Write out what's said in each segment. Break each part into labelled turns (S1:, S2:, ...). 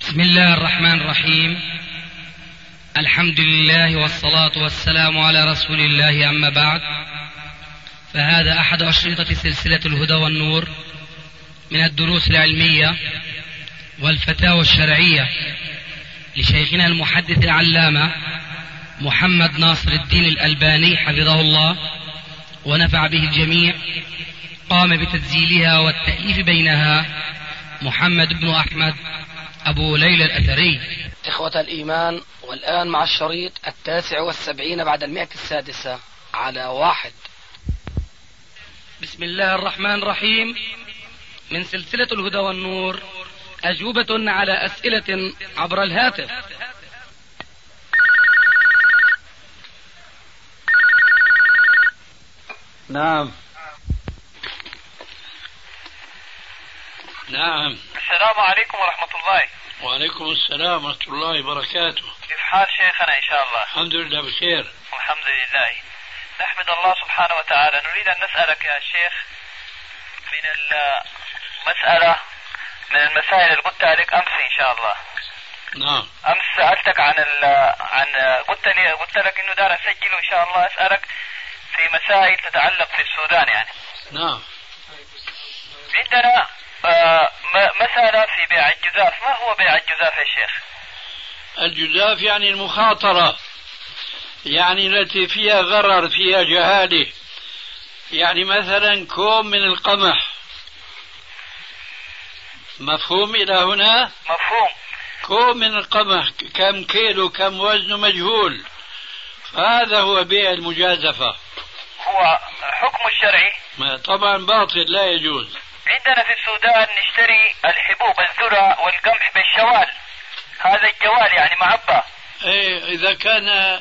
S1: بسم الله الرحمن الرحيم الحمد لله والصلاة والسلام على رسول الله أما بعد فهذا أحد أشرطة سلسلة الهدى والنور من الدروس العلمية والفتاوى الشرعية لشيخنا المحدث العلامة محمد ناصر الدين الألباني حفظه الله ونفع به الجميع قام بتسجيلها والتأليف بينها محمد بن أحمد أبو ليلى الأثري
S2: إخوة الإيمان والآن مع الشريط التاسع والسبعين بعد المئة السادسة على واحد
S1: بسم الله الرحمن الرحيم من سلسلة الهدى والنور أجوبة على أسئلة عبر الهاتف
S3: نعم
S4: نعم
S5: السلام عليكم ورحمة الله
S4: وعليكم السلام ورحمة الله وبركاته
S5: كيف حال شيخنا إن شاء الله
S4: الحمد لله بخير
S5: والحمد لله نحمد الله سبحانه وتعالى نريد أن نسألك يا شيخ من المسألة من المسائل اللي قلت عليك أمس إن شاء الله
S4: نعم
S5: أمس سألتك عن ال عن قلت لي قلت لك إنه دار أسجل وإن شاء الله أسألك في مسائل تتعلق في السودان يعني
S4: نعم
S5: عندنا آه، م- مسألة في بيع الجزاف ما هو بيع الجزاف يا شيخ
S4: الجزاف يعني المخاطرة يعني التي فيها غرر فيها جهالة يعني مثلا كوم من القمح مفهوم إلى هنا
S5: مفهوم
S4: كوم من القمح كم كيلو كم وزنه مجهول هذا هو بيع المجازفة
S5: هو حكم الشرعي
S4: ما- طبعا باطل لا يجوز
S5: عندنا في السودان نشتري الحبوب الذرة والقمح بالشوال هذا الجوال يعني معبى
S4: ايه اذا كان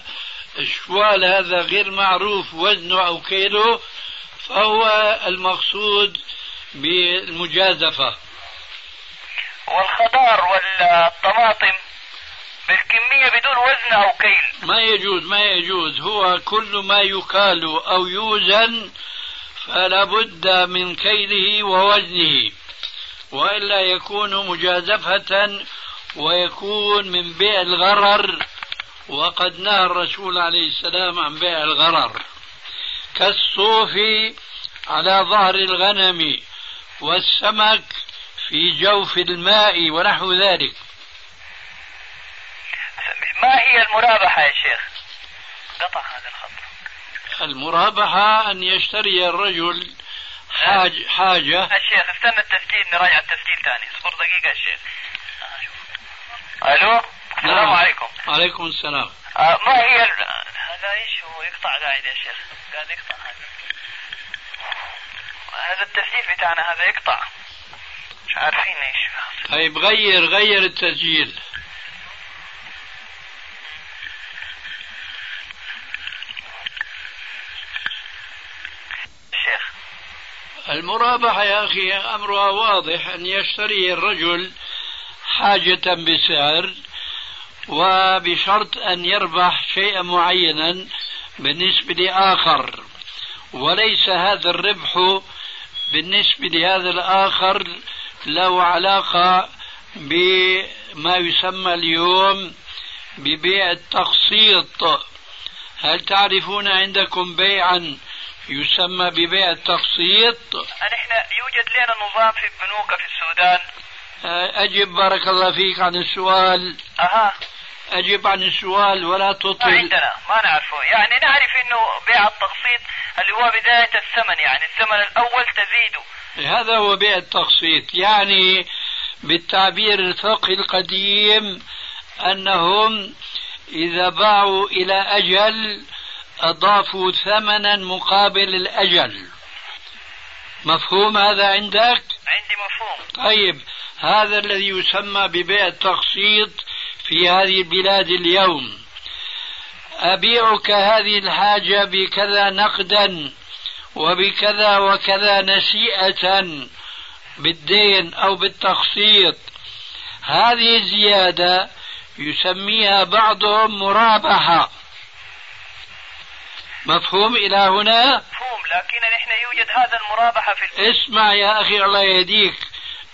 S4: الشوال هذا غير معروف وزنه او كيلو فهو المقصود بالمجازفة
S5: والخضار والطماطم بالكمية بدون وزن أو كيل
S4: ما يجوز ما يجوز هو كل ما يكال او يوزن فلا بد من كيله ووزنه والا يكون مجازفة ويكون من بيع الغرر وقد نهى الرسول عليه السلام عن بيع الغرر كالصوف على ظهر الغنم والسمك في جوف الماء ونحو ذلك
S5: ما هي المرابحة يا شيخ قطع هذا الخط
S4: المرابحة أن يشتري الرجل حاج حاجة
S5: الشيخ استنى التسجيل نراجع التسجيل ثاني اصبر دقيقة يا شيخ ألو السلام
S4: نعم.
S5: عليكم
S4: عليكم السلام
S5: آه، ما هي ال... هذا ايش هو يقطع قاعد يا شيخ قاعد يقطع هذا هذا التسجيل بتاعنا هذا يقطع مش عارفين ايش
S4: طيب غير غير التسجيل
S5: الشيخ
S4: المرابحة يا أخي أمرها واضح أن يشتري الرجل حاجة بسعر وبشرط أن يربح شيئا معينا بالنسبة لآخر وليس هذا الربح بالنسبة لهذا الآخر له علاقة بما يسمى اليوم ببيع التقسيط هل تعرفون عندكم بيعا يسمى ببيع التقسيط
S5: نحن يوجد لنا نظام في البنوك في السودان
S4: أجب بارك الله فيك عن السؤال
S5: اها
S4: أجب عن السؤال ولا
S5: ما
S4: تطل
S5: عندنا ما نعرفه يعني نعرف انه بيع التقسيط اللي هو بداية الثمن يعني الثمن الاول تزيده
S4: هذا هو بيع التقسيط يعني بالتعبير الفقهي القديم أنهم إذا باعوا إلى أجل أضافوا ثمنا مقابل الأجل مفهوم هذا عندك؟
S5: عندي مفهوم
S4: طيب هذا الذي يسمى ببيع التقسيط في هذه البلاد اليوم أبيعك هذه الحاجة بكذا نقدا وبكذا وكذا نسيئة بالدين أو بالتقسيط هذه الزيادة يسميها بعضهم مرابحة مفهوم إلى هنا؟ إيه.
S5: مفهوم لكن نحن يوجد هذا المرابحة في البنوك
S4: اسمع يا أخي الله يهديك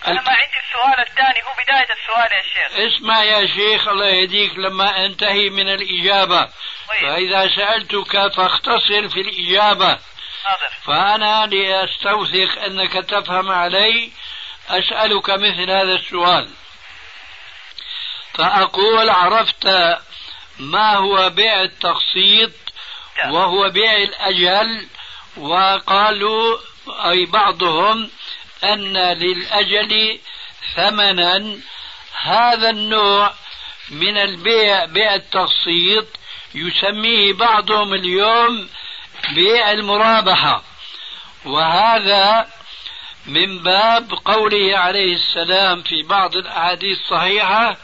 S3: أنا ما عندي السؤال الثاني هو بداية السؤال يا شيخ
S4: اسمع يا شيخ الله يهديك لما انتهي من الإجابة
S3: طيب
S4: فإذا سألتك فاختصر في الإجابة
S3: حاضر
S4: فأنا لأستوثق أنك تفهم علي أسألك مثل هذا السؤال فأقول عرفت ما هو بيع التقسيط
S3: نعم.
S4: وهو بيع الأجل وقالوا أي بعضهم أن للأجل ثمنا هذا النوع من البيع بيع التقسيط يسميه بعضهم اليوم بيع المرابحة وهذا من باب قوله عليه السلام في بعض الأحاديث الصحيحة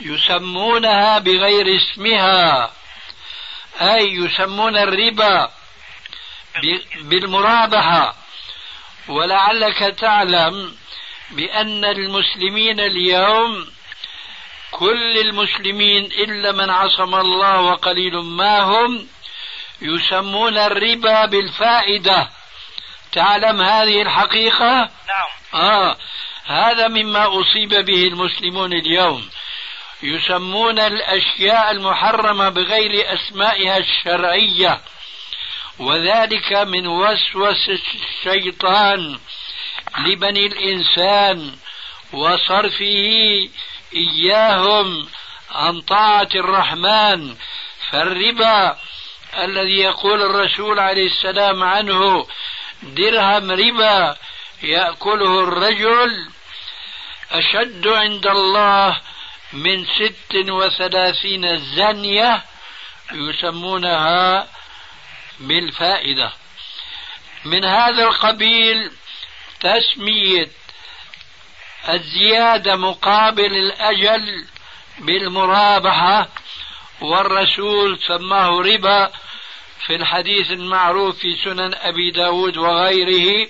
S4: يسمونها بغير اسمها أي يسمون الربا ب- بالمرابحة ولعلك تعلم بأن المسلمين اليوم كل المسلمين إلا من عصم الله وقليل ما هم يسمون الربا بالفائدة تعلم هذه الحقيقة؟
S3: نعم
S4: آه هذا مما أصيب به المسلمون اليوم يسمون الأشياء المحرمة بغير أسمائها الشرعية وذلك من وسوس الشيطان لبني الإنسان وصرفه إياهم عن طاعة الرحمن فالربا الذي يقول الرسول عليه السلام عنه درهم ربا يأكله الرجل أشد عند الله من ست وثلاثين زانية يسمونها بالفائدة من هذا القبيل تسمية الزيادة مقابل الأجل بالمرابحة والرسول سماه ربا في الحديث المعروف في سنن أبي داود وغيره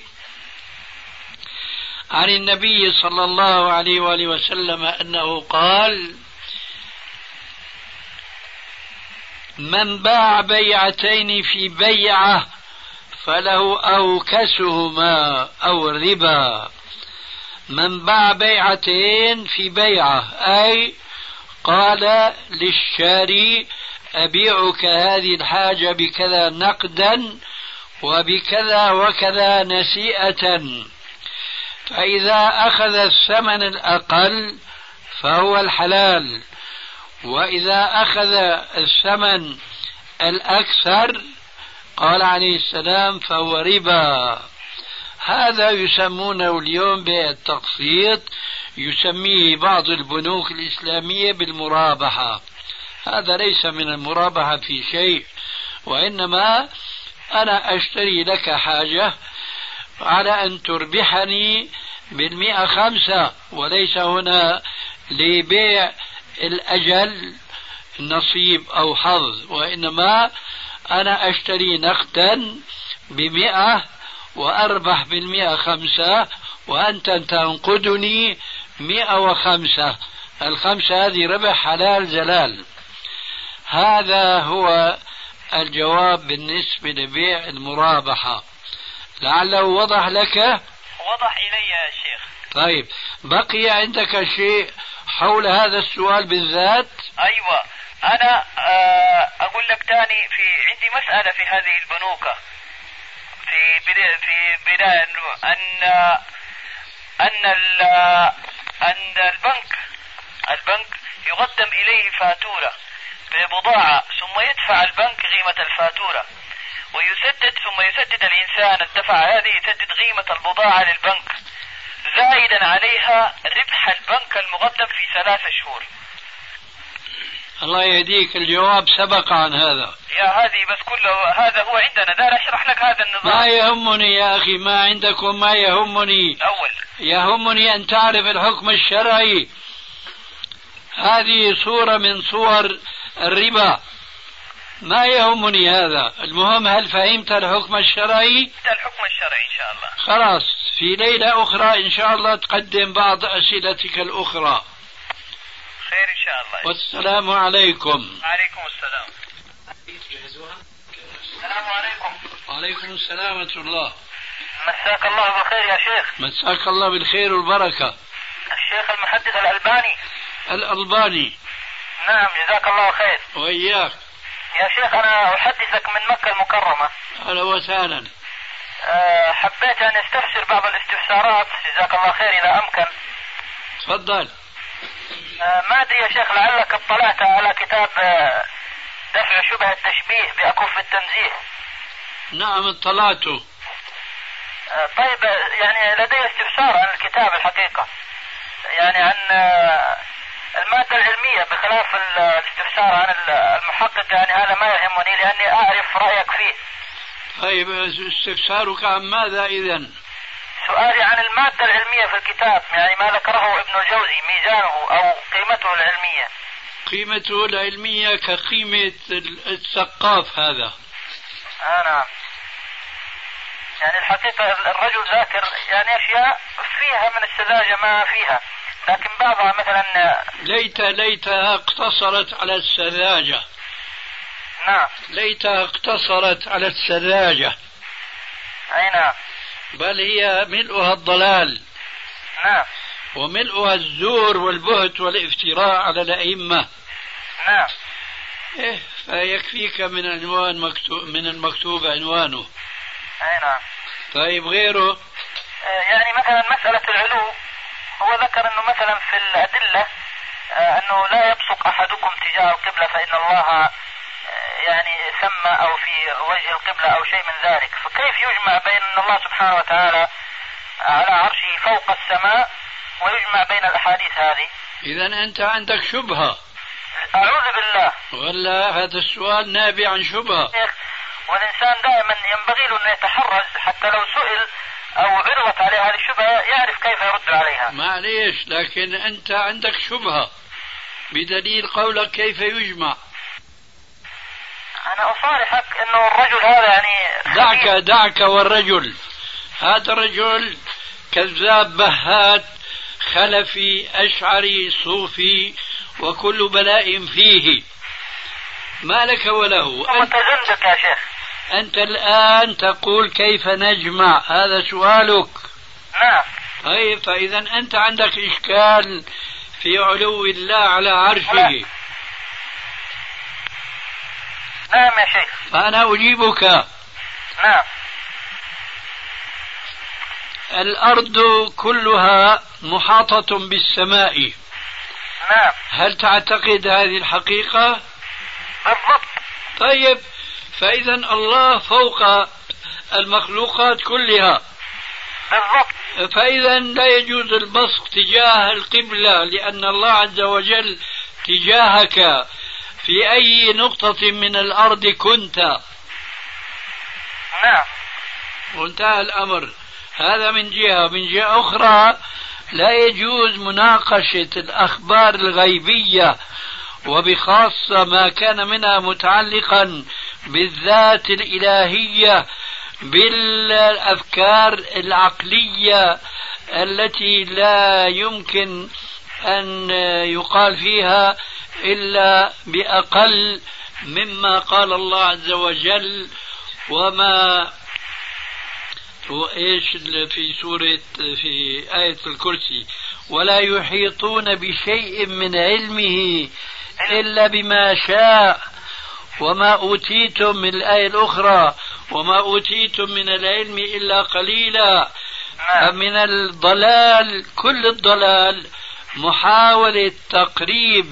S4: عن النبي صلى الله عليه وآله وسلم أنه قال من باع بيعتين في بيعة فله أوكسهما أو الربا من باع بيعتين في بيعة أي قال للشاري أبيعك هذه الحاجة بكذا نقدا وبكذا وكذا نسيئة فإذا أخذ الثمن الأقل فهو الحلال وإذا أخذ الثمن الأكثر قال عليه السلام فهو ربا هذا يسمونه اليوم بالتقسيط يسميه بعض البنوك الإسلامية بالمرابحة هذا ليس من المرابحة في شيء وإنما أنا أشتري لك حاجة على أن تربحني بالمئة خمسة وليس هنا لبيع الأجل نصيب أو حظ وإنما أنا أشتري نقدا بمئة وأربح بالمئة خمسة وأنت تنقدني مئة وخمسة الخمسة هذه ربح حلال زلال هذا هو الجواب بالنسبة لبيع المرابحة لعله وضح لك
S3: وضح إلي يا شيخ
S4: طيب بقي عندك شيء حول هذا السؤال بالذات
S3: أيوة أنا آه، أقول لك تاني في عندي مسألة في هذه البنوكة في بدا في بداية إنه أن أن ال أن البنك البنك يقدم إليه فاتورة ببضاعة ثم يدفع البنك قيمة الفاتورة ويسدد ثم يسدد الإنسان الدفع هذه يسدد قيمة البضاعة للبنك زائدا عليها ربح البنك المقدم في ثلاثة شهور
S4: الله يهديك الجواب سبق عن هذا
S3: يا هذه بس كله هذا هو عندنا دار اشرح لك
S4: ما
S3: هذا النظام
S4: يهمني يا أخي ما عندك وما يهمني
S3: الاول
S4: يهمني أن تعرف الحكم الشرعي هذه صورة من صور الربا ما يهمني هذا المهم هل فهمت الحكم الشرعي
S3: ده الحكم الشرعي ان شاء الله
S4: خلاص في ليلة أخرى إن شاء الله تقدم بعض أسئلتك الأخرى
S3: خير ان شاء الله
S4: والسلام عليكم
S3: عليكم السلام السلام عليكم
S4: وعليكم السلام ورحمة الله
S5: مساك الله بالخير يا شيخ
S4: مساك الله بالخير والبركة
S5: الشيخ المحدث الألباني
S4: الألباني
S5: نعم جزاك الله خير
S4: وإياك
S5: يا شيخ أنا أحدثك من مكة المكرمة
S4: أهلا وسهلا
S5: أه، حبيت أن استفسر بعض الاستفسارات جزاك الله خير إذا أمكن
S4: تفضل
S5: أه، ما أدري يا شيخ لعلك اطلعت على كتاب أه، دفع شبه التشبيه بأكف التنزيه
S4: نعم اطلعت
S5: أه، طيب أه، يعني لدي استفسار عن الكتاب الحقيقة يعني عن أه، المادة العلمية بخلاف ال- آه، الاستفسار عن ال- المحقق يعني هذا ما يهمني لأني أعرف رأيك فيه
S4: طيب استفسارك عن ماذا إذا
S5: سؤالي عن المادة العلمية في الكتاب يعني ما ذكره ابن الجوزي ميزانه أو قيمته العلمية
S4: قيمته العلمية كقيمة ال- الثقاف هذا
S5: آه نعم يعني الحقيقة الرجل ذاكر يعني أشياء فيها من السذاجة ما فيها لكن بعضها آه، مثلا
S4: ليت ليتها اقتصرت على السذاجة
S5: نعم
S4: ليتها اقتصرت على السذاجة
S5: أي نعم
S4: بل هي ملؤها الضلال
S5: نعم
S4: وملؤها الزور والبهت والافتراء على الأئمة
S5: نعم
S4: إيه فيكفيك من عنوان مكتوب من المكتوب عنوانه
S5: أي نعم
S4: طيب غيره
S5: آه، يعني مثلا مسألة العلو هو ذكر أنه مثلا في الأدلة آه، أنه لا يبصق أحدكم تجاه القبلة فإن الله آه، يعني سمى أو في وجه القبلة أو شيء من ذلك فكيف يجمع بين أن الله سبحانه وتعالى على عرشه فوق السماء ويجمع بين الأحاديث هذه
S4: إذا أنت عندك شبهة
S5: أعوذ بالله
S4: ولا هذا السؤال نابع عن شبهة
S5: شيخ والإنسان دائما ينبغي له أن يتحرز حتى لو سئل أو عرضت عليه هذه الشبهة يعرف كيف يرد عليها
S4: معليش لكن أنت عندك شبهة بدليل قولك كيف يجمع
S5: انا اصارحك انه الرجل هذا يعني
S4: دعك
S5: خبيث.
S4: دعك والرجل هذا الرجل كذاب بهات خلفي أشعري صوفي وكل بلاء فيه ما لك وله أنت,
S5: متزندق يا شيخ
S4: أنت الآن تقول كيف نجمع هذا سؤالك
S5: نعم
S4: طيب فإذا أنت عندك إشكال في علو الله على عرشه
S5: نعم يا شيخ
S4: فأنا أجيبك
S5: نعم
S4: الأرض كلها محاطة بالسماء
S5: نعم
S4: هل تعتقد هذه الحقيقة؟
S5: بالضبط
S4: طيب فإذا الله فوق المخلوقات كلها
S5: بالضبط
S4: فإذا لا يجوز البصق تجاه القبلة لأن الله عز وجل تجاهك في أي نقطة من الأرض كنت
S5: نعم
S4: وانتهى الأمر هذا من جهة من جهة أخرى لا يجوز مناقشة الأخبار الغيبية وبخاصة ما كان منها متعلقا بالذات الإلهية بالأفكار العقلية التي لا يمكن أن يقال فيها إلا بأقل مما قال الله عز وجل وما وايش اللي في سورة في آية الكرسي ولا يحيطون بشيء من علمه إلا بما شاء وما أوتيتم من الآية الأخرى وما أوتيتم من العلم إلا قليلا
S5: نعم
S4: فمن الضلال كل الضلال محاولة تقريب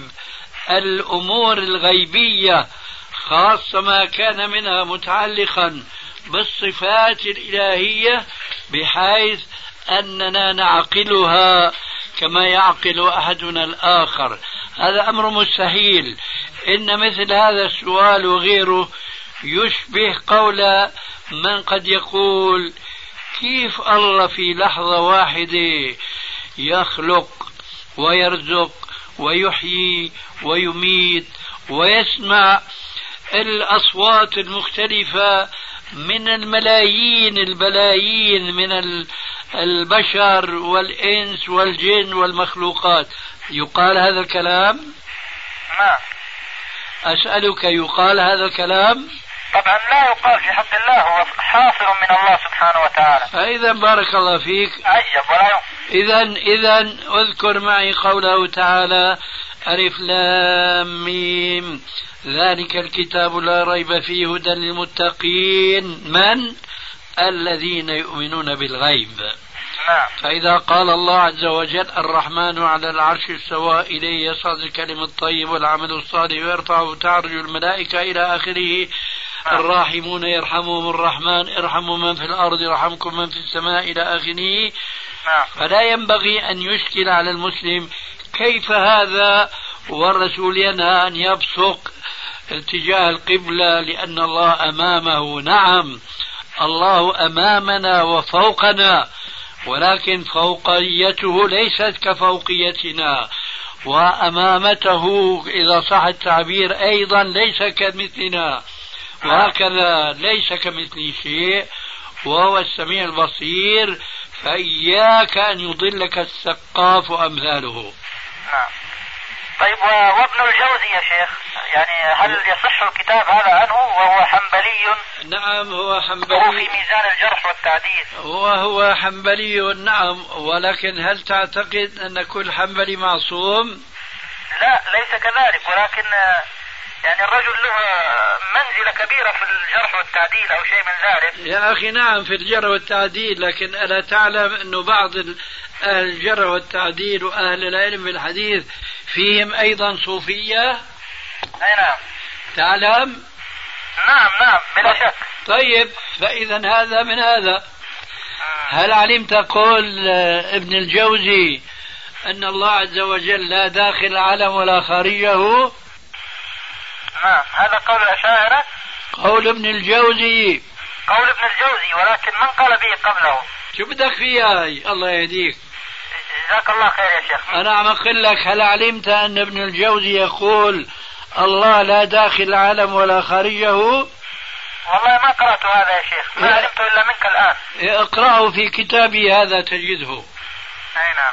S4: الأمور الغيبية خاصة ما كان منها متعلقا بالصفات الإلهية بحيث أننا نعقلها كما يعقل أحدنا الآخر هذا أمر مستحيل إن مثل هذا السؤال وغيره يشبه قول من قد يقول كيف الله في لحظة واحدة يخلق ويرزق ويحيي ويميت ويسمع الأصوات المختلفة من الملايين البلايين من ال- البشر والإنس والجن والمخلوقات يقال هذا الكلام
S5: نعم
S4: أسألك يقال هذا الكلام
S6: طبعا لا يقال في حق الله هو حاصر من الله سبحانه وتعالى
S4: إذا بارك الله فيك
S6: عجب ولا يوم
S4: إذا إذا اذكر معي قوله تعالى ألف لام ميم ذلك الكتاب لا ريب فيه هدى للمتقين من الذين يؤمنون بالغيب
S6: نعم
S4: فإذا قال الله عز وجل الرحمن على العرش استوى إليه يصعد الكلم الطيب والعمل الصالح ويرفعه تعرج الملائكة إلى آخره الراحمون يرحمهم الرحمن ارحموا من في الأرض يرحمكم من في السماء إلى آخره
S6: نعم
S4: فلا ينبغي أن يشكل على المسلم كيف هذا والرسول ينهى أن يبصق اتجاه القبلة لأن الله أمامه نعم الله أمامنا وفوقنا ولكن فوقيته ليست كفوقيتنا وأمامته إذا صح التعبير أيضا ليس كمثلنا وهكذا ليس كمثله شيء وهو السميع البصير فإياك أن يضلك السقاف وأمثاله
S6: نعم طيب و- وابن الجوزي يا شيخ يعني هل يصح الكتاب هذا عنه وهو حنبلي
S4: نعم هو
S6: وهو في
S4: حنبلي
S6: ميزان الجرح والتعديل
S4: وهو حنبلي نعم ولكن هل تعتقد أن كل حنبلي معصوم؟
S6: لا ليس كذلك ولكن آه، يعني الرجل له آه، منزلة كبيرة في الجرح والتعديل أو شيء من ذلك
S4: يا أخي نعم في الجرح والتعديل لكن ألا تعلم أن بعض ال- أهل الجرح والتعديل وأهل العلم بالحديث فيهم أيضا صوفية
S6: أي نعم
S4: تعلم
S6: نعم نعم بلا شك
S4: طيب فإذا هذا من هذا
S6: مم.
S4: هل علمت قول آه، ابن الجوزي أن الله عز وجل لا داخل العالم ولا خارجه
S6: نعم هذا قول الأشاعرة
S4: قول ابن الجوزي
S6: قول ابن الجوزي ولكن من قال به قبله
S4: شو بدك فيها هي الله يهديك
S6: جزاك الله خير يا شيخ
S4: أنا عم أقول لك هل علمت أن ابن الجوزي يقول الله لا داخل العالم ولا خارجه
S6: والله ما قرأت هذا يا شيخ ما
S4: لا.
S6: علمته إلا منك الآن
S4: اقرأه في كتابي هذا تجده
S6: أي نعم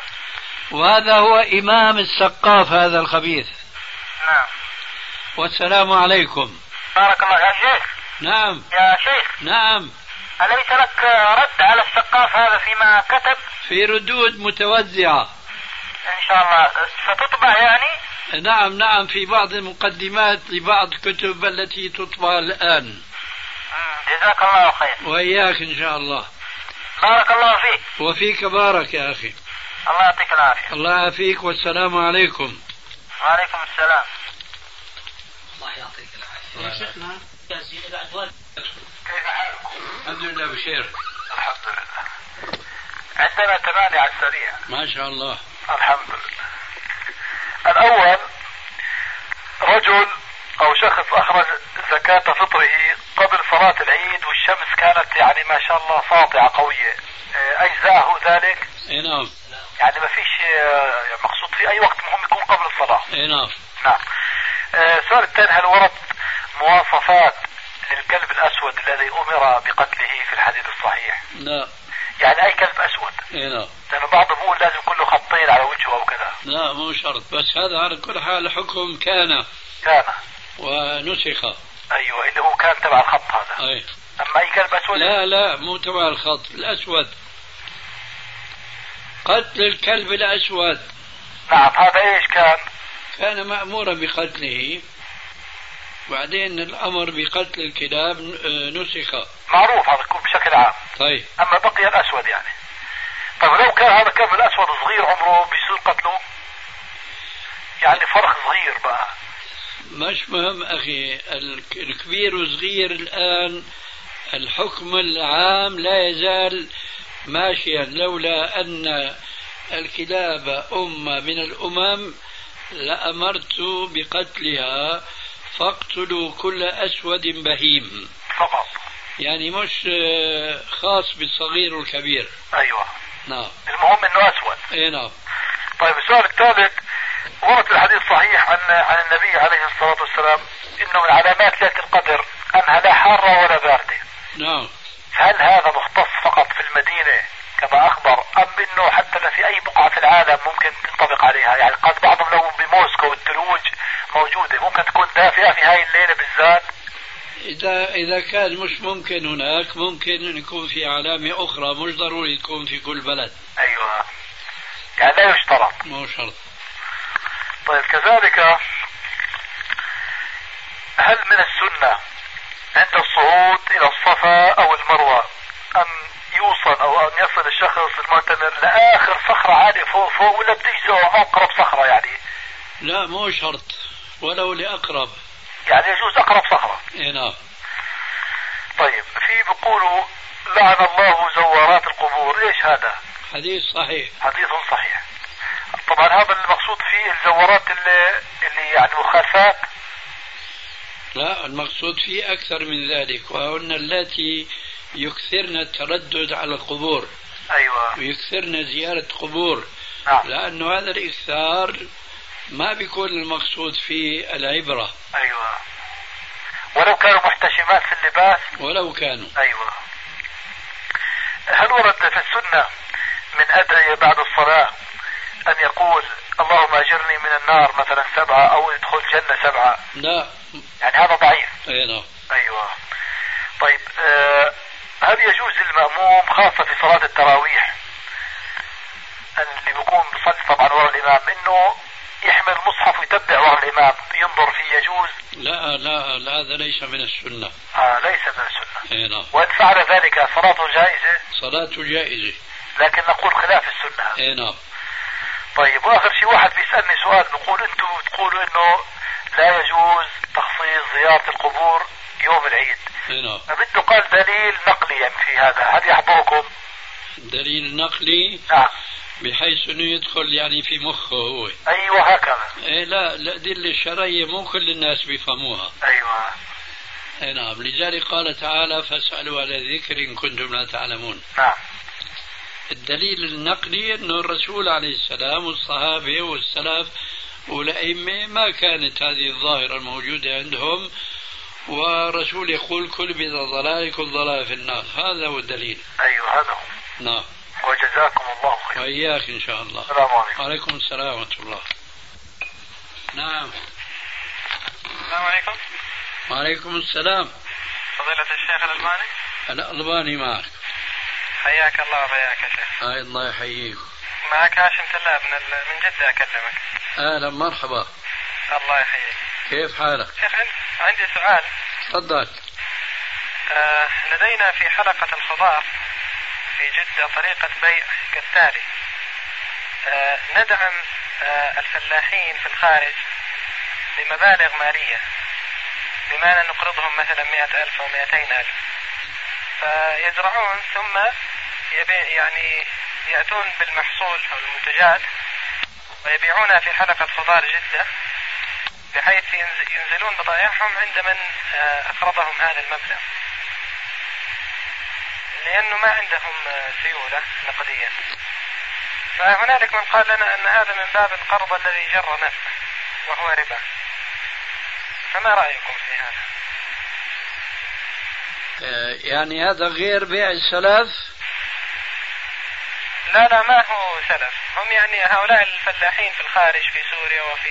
S4: وهذا هو إمام السقاف هذا الخبيث
S6: نعم
S4: والسلام عليكم
S6: بارك الله يا شيخ
S4: نعم
S6: يا شيخ
S4: نعم
S6: أليس لك آه، رد على السقاف هذا فيما كتب
S4: في ردود متوزعة
S6: إن شاء الله ستطبع يعني
S4: نعم نعم في بعض المقدمات لبعض كتب التي تطبع الآن
S6: مم، جزاك الله خير
S4: وإياك إن شاء الله
S6: بارك الله فيك
S4: وفيك بارك يا أخي
S6: الله يعطيك العافية
S4: الله يعافيك والسلام عليكم
S6: وعليكم السلام
S7: الله يعطيك العافيه
S6: كيف حالكم؟
S4: الحمد لله بخير
S6: الحمد لله عندنا ثمانية على السريع
S4: ما شاء الله
S6: الحمد لله الأول رجل أو شخص أخرج زكاة فطره قبل صلاة العيد والشمس كانت يعني ما شاء الله ساطعة قوية آه، أجزاءه ذلك
S4: اي نعم
S6: يعني ما فيش آه، مقصود في أي وقت مهم يكون قبل الصلاة
S4: اي نعم
S6: نعم آه، السؤال الثاني هل ورد مواصفات للكلب الأسود الذي أمر بقتله في الحديث الصحيح
S4: لا
S6: يعني أي كلب أسود
S4: اي نعم
S6: لأنه بعضهم يقول لازم يكون له خطين على وجهه أو كذا
S4: لا مو شرط بس هذا على كل حال حكم كان
S6: كان
S4: ونسخ
S6: ايوه اللي هو كان تبع الخط هذا
S4: اي
S6: اما اي كلب اسود
S4: لا لا مو تبع الخط الاسود قتل الكلب الاسود
S6: نعم هذا ايش كان؟
S4: كان مامورا بقتله بعدين الامر بقتل الكلاب آه، نسخ
S6: معروف هذا يكون بشكل عام
S4: طيب
S6: اما بقي الاسود يعني طيب لو كان هذا الكلب الاسود صغير عمره بيصير قتله يعني فرق صغير بقى
S4: مش مهم اخي الك- الكبير والصغير الان الحكم العام لا يزال ماشيا لولا ان الكلاب امه من الامم لامرت بقتلها فاقتلوا كل اسود بهيم
S6: فقط
S4: يعني مش آه، خاص بالصغير والكبير
S6: ايوه
S4: نعم
S6: المهم انه اسود
S4: اي نعم
S6: طيب السؤال الثالث ورد الحديث صحيح عن عن النبي عليه الصلاه والسلام انه من علامات ليله القدر انها لا حاره ولا بارده
S4: نعم
S6: هل هذا مختص فقط في المدينة كما أخبر أم أنه حتى في أي بقعة في العالم ممكن تنطبق عليها يعني قد بعضهم لو بموسكو الثلوج موجودة ممكن تكون دافئة في هاي الليلة بالذات
S4: إذا إذا كان مش ممكن هناك ممكن أن يكون في علامة أخرى مش ضروري تكون في كل بلد
S6: ايوه يعني لا يشترط
S4: مو شرط
S6: طيب كذلك هل من السنة عند الصعود إلى الصفا أو المروة أن يوصل أو أن يصل الشخص المعتمر لآخر صخرة عالية فوق فوق ولا بتجزئه أقرب صخرة يعني
S4: لا مو شرط ولو لأقرب
S6: يعني يجوز أقرب صخرة
S4: إيه نعم
S6: طيب في بيقولوا لعن الله زوارات القبور ايش هذا
S4: حديث صحيح
S6: حديث صحيح طبعا هذا المقصود فيه الزوارات اللي, اللي يعني مخالفات
S4: لا المقصود فيه أكثر من ذلك وهن التي يكثرن التردد على القبور
S6: ايوه
S4: ويكثرن زيارة قبور
S6: نعم
S4: لأنه هذا الإكثار ما بيكون المقصود فيه العبرة
S6: ايوه ولو كانوا محتشمات في اللباس
S4: ولو كانوا
S6: ايوه هل ورد في السنه من ادعيه بعد الصلاه ان يقول اللهم اجرني من النار مثلا سبعه او ادخل جنه سبعه
S4: لا
S6: يعني هذا ضعيف
S4: إيه نعم
S6: ايوه طيب آه هل يجوز للماموم خاصه في صلاه التراويح اللي بيقوم بصلي طبعا ورا الامام انه يحمل مصحف ويتبع ورا الامام ينظر فيه يجوز
S4: لا لا لا، هذا ليس من السنة
S6: آه ليس من السنه
S4: إيه نعم
S6: وان فعل ذلك صلاته جائزه
S4: صلاته جائزة
S6: لكن نقول خلاف السنه
S4: إيه نعم
S6: طيب واخر شيء واحد بيسالني سؤال بقول انتم بتقولوا انه لا يجوز تخصيص زياره القبور يوم العيد
S4: إيه نعم
S6: فبده قال دليل نقلي يعني في هذا هل يحضركم؟
S4: دليل نقلي
S6: نعم
S4: بحيث انه يدخل يعني في مخه هو
S6: ايوه هكذا
S4: إيه لا لا الأدلة الشرعية مو كل الناس بيفهموها
S6: ايوه
S4: إيه نعم لذلك قال تعالى فاسألوا على ذكر إن كنتم لا تعلمون
S6: نعم
S4: الدليل النقلي أنه الرسول عليه السلام والصحابة والسلف والأئمة ما كانت هذه الظاهرة الموجودة عندهم ورسول يقول كل بذا ضلال كل ضلال في النار هذا هو الدليل
S6: ايوه هذا هو
S4: نعم
S6: وجزاكم الله خير
S4: وإياك إن شاء الله
S6: السلام عليكم
S4: وعليكم السلام ورحمة الله نعم
S6: السلام عليكم
S4: وعليكم السلام
S6: فضيلة الشيخ الألماني
S4: الألباني معك
S6: حياك الله وبياك يا شيخ
S4: هاي الله يحييك
S6: معك هاشم تلاب من من جدة أكلمك
S4: أهلا مرحبا
S6: الله يحييك
S4: كيف حالك
S6: شيخ عندي سؤال
S4: تفضل
S6: آه، لدينا في حلقة الخضار في جدة طريقة بيع كالتالي آه، ندعم آه، الفلاحين في الخارج بمبالغ مالية بما أن نقرضهم مثلا مئة ألف أو مئتين ألف فيزرعون ثم يبيع يعني يأتون بالمحصول أو المنتجات ويبيعونها في حلقة خضار جدة بحيث ينز- ينزلون بضائعهم عند من آه، أقرضهم هذا المبلغ لأنه ما عندهم آه، سيولة نقدية فهنالك من قال لنا أن هذا من باب القرض الذي جر نفع وهو ربا فما رأيكم في هذا؟
S4: آه، يعني هذا غير بيع السلف
S6: لا لا ما هو سلف هم يعني هؤلاء الفلاحين في الخارج في سوريا وفي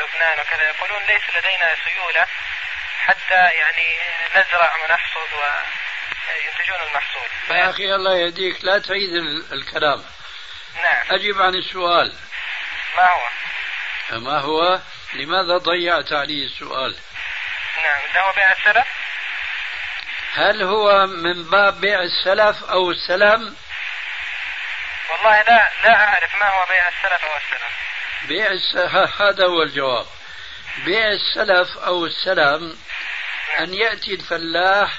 S6: لبنان وكذا يقولون ليس لدينا سيولة حتى يعني نزرع ونحصد وينتجون المحصول
S4: يا أخي الله يهديك لا تعيد ال- الكلام
S6: نعم
S4: أجب عن السؤال
S6: ما هو
S4: ما هو لماذا ضيعت علي السؤال
S6: نعم ده هو بيع السلف
S4: هل هو من باب بيع السلف أو السلم
S6: والله لا لا أعرف ما هو بيع السلف أو السلف
S4: بيع الس... ه- هذا هو الجواب بيع السلف أو السلم أن يأتي الفلاح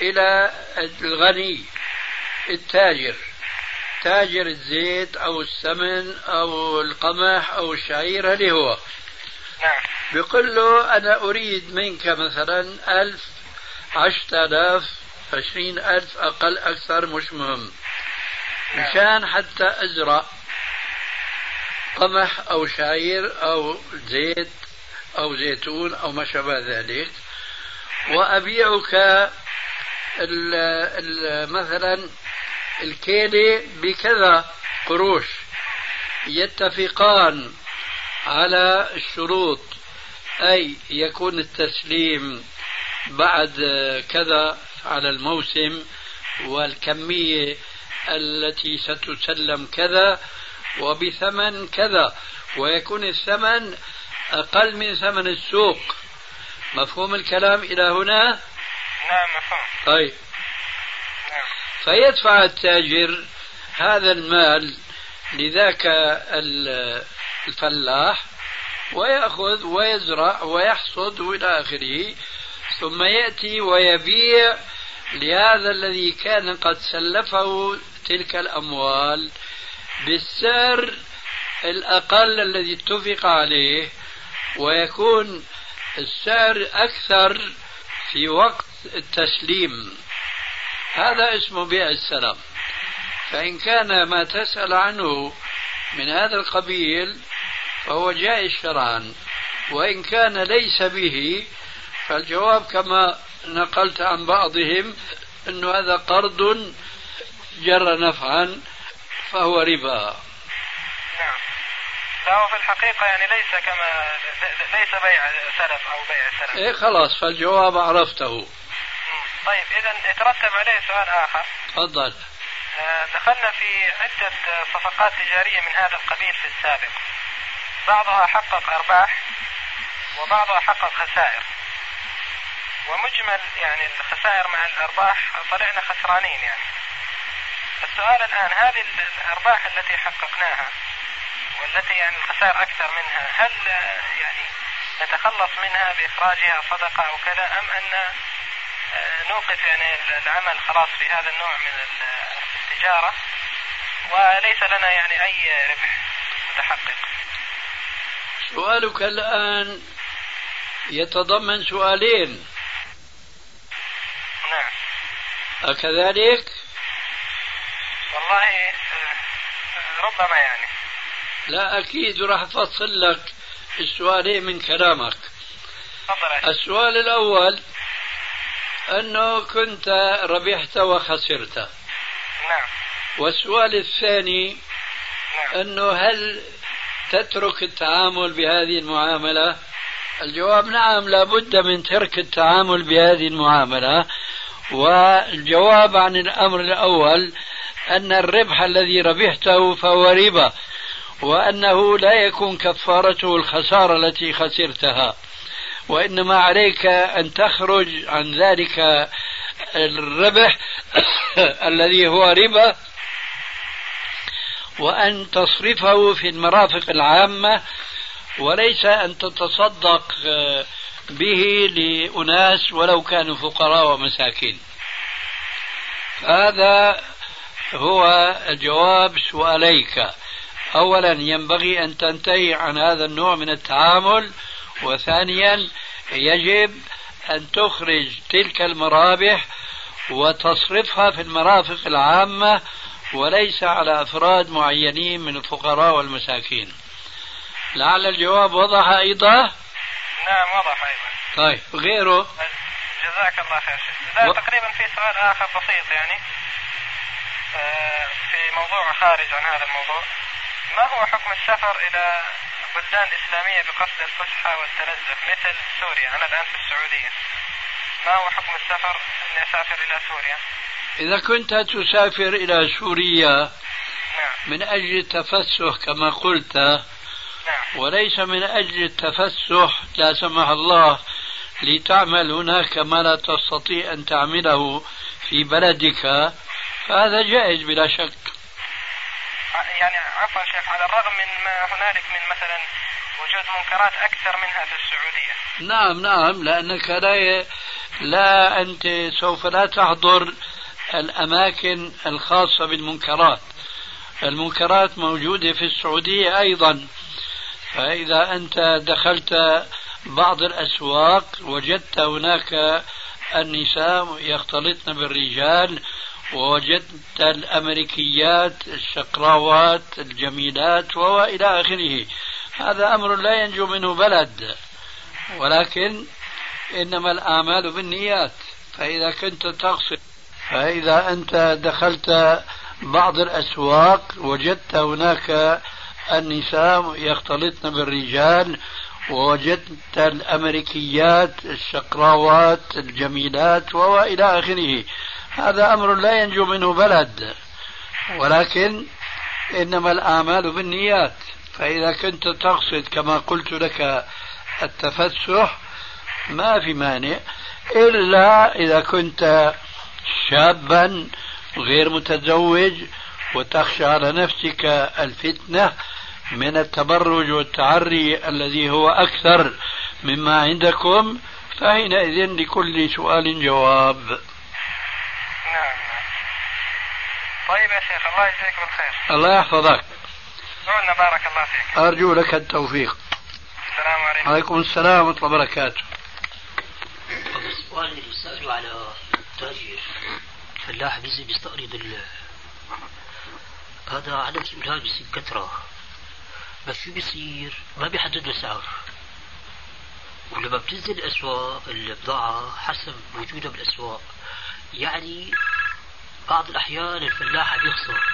S4: إلى الغني التاجر تاجر الزيت أو السمن أو القمح أو الشعير اللي هو
S6: نعم
S4: بيقول له أنا أريد منك مثلا ألف عشرة آلاف عشرين ألف أقل أكثر مش مهم مشان حتى أزرع قمح أو شعير أو زيت أو زيتون أو ما شابه ذلك وأبيعك ال ال مثلا الكيلة بكذا قروش يتفقان على الشروط أي يكون التسليم بعد كذا على الموسم والكمية التي ستسلم كذا وبثمن كذا ويكون الثمن أقل من ثمن السوق مفهوم الكلام إلى هنا
S8: نعم مفهوم
S4: طيب
S8: نعم
S4: فيدفع التاجر هذا المال لذاك ال- الفلاح ويأخذ ويزرع ويحصد وإلى آخره ثم يأتي ويبيع لهذا الذي كان قد سلفه تلك الأموال بالسعر الأقل الذي اتفق عليه ويكون السعر أكثر في وقت التسليم هذا اسمه بيع السلام فإن كان ما تسأل عنه من هذا القبيل فهو جائز شرعا وإن كان ليس به فالجواب كما نقلت عن بعضهم أن هذا قرض جر نفعا فهو ربا
S8: نعم فهو في الحقيقة يعني ليس كما ليس بيع سلف أو بيع سلف
S4: إيه خلاص فالجواب عرفته
S8: مم. طيب إذا يترتب عليه سؤال آخر
S4: تفضل
S8: آه، دخلنا في عدة آه، صفقات تجارية من هذا القبيل في السابق بعضها حقق أرباح وبعضها حقق خسائر ومجمل يعني الخسائر مع الأرباح طلعنا خسرانين يعني السؤال الآن هذه ال- الأرباح التي حققناها والتي يعني الخسائر أكثر منها هل آه، يعني نتخلص منها بإخراجها صدقة أو كذا أم أن آه، نوقف يعني ال- العمل خلاص في هذا النوع من ال- التجارة وليس لنا يعني أي ربح متحقق
S4: سؤالك الآن يتضمن سؤالين
S8: نعم
S4: أكذلك؟
S8: والله آه، ربما يعني
S4: لا أكيد راح أفصل لك السؤالين من كلامك
S8: تفضل يا شيخ.
S4: السؤال الأول أنه كنت ربحت وخسرت
S8: نعم
S4: والسؤال الثاني
S8: نعم
S4: أنه هل تترك التعامل بهذه المعاملة الجواب نعم لابد من ترك التعامل بهذه المعاملة والجواب عن الأمر الأول أن الربح الذي ربحته فهو ربا وأنه لا يكون كفارته الخسارة التي خسرتها وإنما عليك أن تخرج عن ذلك الربح الذي هو ربا وأن تصرفه في المرافق العامة وليس أن تتصدق آه، به لأناس ولو كانوا فقراء ومساكين هذا هو جواب سؤاليك أولا ينبغي أن تنتهي عن هذا النوع من التعامل وثانيا يجب أن تخرج تلك المرابح وتصرفها في المرافق العامة وليس على أفراد معينين من الفقراء والمساكين لعل الجواب وضح أيضا
S8: نعم وضح أيضا
S4: طيب غيره
S8: جزاك الله خير شيخ. لا
S4: و-
S8: تقريبا في سؤال آخر بسيط يعني آه، في موضوع خارج عن هذا الموضوع ما هو حكم السفر إلى بلدان إسلامية بقصد الفسحة والتنزه مثل سوريا أنا الآن في السعودية ما هو حكم السفر أني أسافر إلى سوريا
S4: إذا كنت تسافر إلى سوريا
S8: نعم
S4: من أجل التفسح كما قلت
S8: نعم
S4: وليس من أجل التفسح لا سمح الله لتعمل هناك ما لا تستطيع أن تعمله في بلدك فهذا جائز بلا شك
S8: يعني عفوا شيخ على الرغم من ما هنالك من مثلا وجود منكرات اكثر منها في السعوديه.
S4: نعم نعم لأنك لا ي... لا أنت سوف لا تحضر الأماكن الخاصة بالمنكرات المنكرات موجودة في السعودية أيضا فإذا أنت دخلت بعض الأسواق وجدت هناك النساء يختلطن بالرجال ووجدت الأمريكيات الشقراوات الجميلات وإلى آخره هذا أمر لا ينجو منه بلد ولكن إنما الأعمال بالنيات فإذا كنت تقصد فإذا أنت دخلت بعض الأسواق وجدت هناك النساء يختلطن بالرجال ووجدت الأمريكيات الشقراوات الجميلات وإلى آخره هذا أمر لا ينجو منه بلد ولكن إنما الأعمال بالنيات فإذا كنت تقصد كما قلت لك التفسح ما في مانع إلا إذا كنت شابا غير متزوج وتخشى على نفسك الفتنة من التبرج والتعري الذي هو أكثر مما عندكم فحينئذ لكل سؤال جواب
S3: نعم طيب يا شيخ الله يجزيك بالخير
S4: الله يحفظك
S3: قولنا بارك الله فيك
S4: أرجو لك التوفيق
S3: السلام عليكم
S4: عليكم السلام ورحمة الله وبركاته
S9: السؤال اللي سأله على تاجر فلاح بيزي بيستقرض ال هذا عدد الأولاد بيصير كثرة بس شو بيصير؟ ما بيحددوا سعر ولما بتنزل الأسواق البضاعة حسب وجودها بالأسواق يعني بعض الأحيان الفلاح بيخسر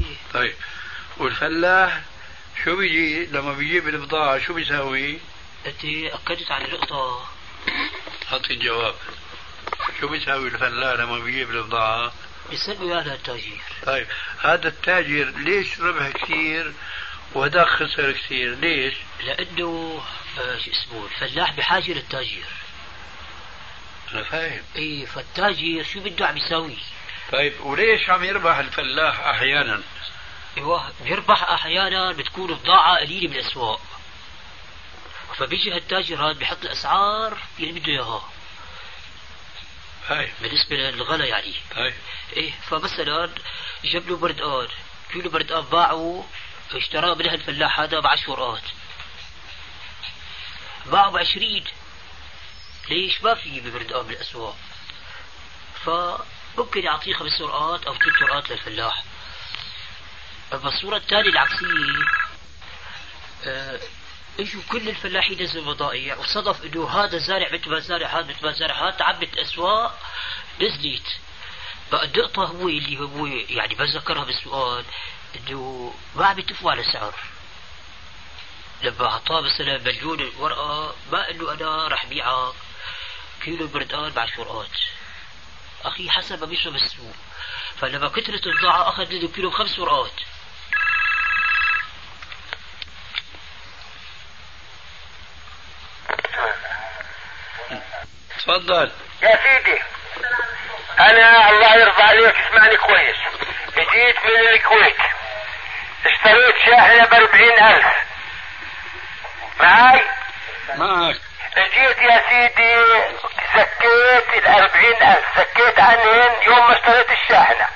S9: إيه،
S4: طيب والفلاح شو بيجي لما بيجيب البضاعة شو بيساوي؟
S9: أنت أكدت على نقطة
S4: أعطي الجواب شو بيساوي الفلاح لما بيجيب البضاعة؟
S9: بيسلوا على التاجر
S4: طيب هذا التاجر ليش ربح كثير وهذا خسر كثير ليش؟
S9: لأنه آه، شو اسمه الفلاح بحاجة للتاجر
S4: أنا فاهم
S9: إيه فالتاجر شو بده عم يساوي؟
S4: طيب وليش عم يربح الفلاح أحيانا؟
S9: ايوه بيربح احيانا بتكون بضاعه قليله بالاسواق فبيجي هالتاجر هذا بيحط الاسعار اللي بده اياها
S4: طيب
S9: بالنسبه للغلا يعني
S4: طيب
S9: ايه فمثلا جاب له بردقان كيلو بردقان باعه اشتراه من هالفلاح هذا ب 10 قرات باعه ب 20 ليش ما في بردقان بالاسواق فممكن يعطيه خمس قرات او ست قرات للفلاح اما الصورة التالية العكسية آه، اجوا كل الفلاحين نزلوا البضائع وصدف انه هذا زارع مثل ما زارع هذا مثل ما زارع هذا تعبت الاسواق نزلت بقى النقطة هو اللي هو يعني ما ذكرها بالسؤال انه ما عم يتفقوا على سعر لما اعطاه مثلا مليون ورقة ما قال له انا رح بيعها كيلو بردقان مع شرقات اخي حسب ما بيشرب السوق فلما كثرت البضاعة أخذ له كيلو بخمس ورقات
S4: تفضل
S3: يا سيدي انا الله يرضى عليك اسمعني كويس جيت من الكويت اشتريت شاحنة باربعين الف معاي
S4: معك
S3: جيت يا سيدي زكيت الأربعين ألف زكيت عنهن يوم ما اشتريت الشاحنة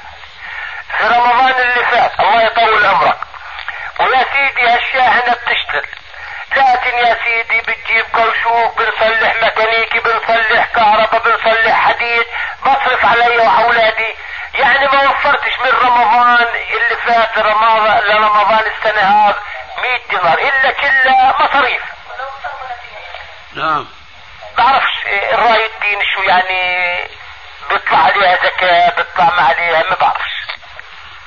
S3: في رمضان اللي فات الله يطول عمرك ويا سيدي هالشاحنة بتشتغل لكن يا سيدي بتجيب كوشوك بنصلح ميكانيكي بنصلح كهرباء بنصلح حديد بصرف علي وأولادي يعني ما وفرتش من رمضان اللي فات رمضان لرمضان السنة هذا 100 دينار إلا كلها مصاريف
S4: نعم
S3: بعرفش الراي الدين شو يعني بيطلع عليها زكاة بيطلع ما عليها ما بعرفش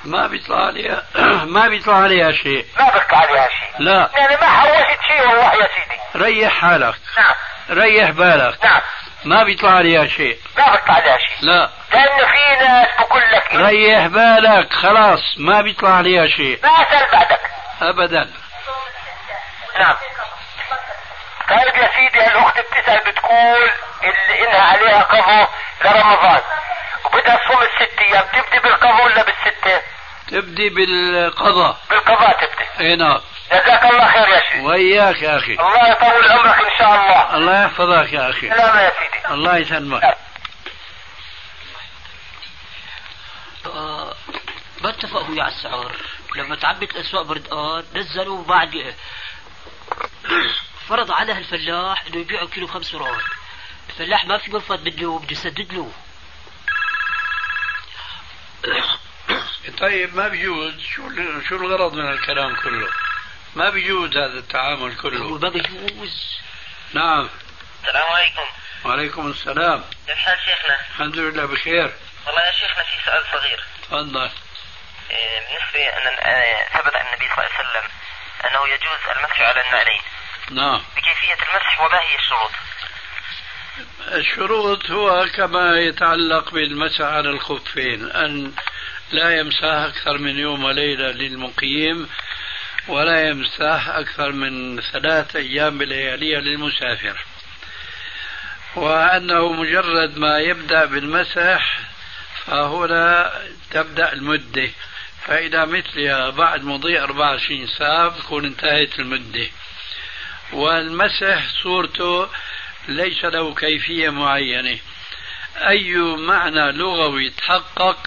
S4: ما بيطلع عليها ما بيطلع عليها شيء
S3: ما بيطلع عليها شيء
S4: لا
S3: يعني ما حوشت شيء والله يا سيدي
S4: ريح حالك
S3: نعم
S4: ريح بالك
S3: نعم
S4: ما بيطلع عليها شيء
S3: ما بيطلع عليها شيء
S4: لا
S3: لانه في ناس بقول لك إيه.
S4: ريح بالك خلاص ما بيطلع عليها شيء
S3: ما اسال بعدك
S4: ابدا
S3: نعم طيب يا سيدي الاخت بتسال بتقول اللي انها عليها قضاء لرمضان وبدها تصوم الست ايام تبدي بالقضاء ولا بالسته؟
S4: تبدي بالقضاء
S3: بالقضاء تبدي
S4: اي نعم
S3: جزاك الله خير يا شيخ
S4: وياك يا اخي
S3: الله يطول عمرك ان شاء الله
S4: الله يحفظك يا اخي
S3: سلام يا سيدي
S4: الله يسلمك
S9: بقى ما اتفقوا ويا السعر لما تعبت الاسواق بردقان نزلوا بعد آه، فرض على هالفلاح انه يبيعوا كيلو خمس ورقات الفلاح ما في منفذ بده بده يسدد له
S4: طيب ما بيجوز شو شو الغرض من الكلام كله ما بيجوز هذا التعامل
S9: هو
S4: كله
S9: ما بيجوز
S4: نعم
S3: السلام عليكم
S4: وعليكم السلام
S3: كيف حال شيخنا؟
S4: الحمد لله بخير
S3: والله يا شيخنا في سؤال صغير
S4: تفضل
S3: آه، إيه، بالنسبة أن أن- ثبت عن النبي صلى الله عليه وسلم أنه يجوز المسح على النعلين
S4: نعم
S10: بكيفية المسح وما هي الشروط
S4: الشروط هو كما يتعلق بالمسح على الخفين أن لا يمسح أكثر من يوم وليلة للمقيم ولا يمسح أكثر من ثلاث أيام بلياليها للمسافر وأنه مجرد ما يبدأ بالمسح فهنا تبدأ المدة فإلى مثلها بعد مضي 24 ساعة تكون انتهت المدة والمسح صورته ليس له كيفية معينة أي معنى لغوي تحقق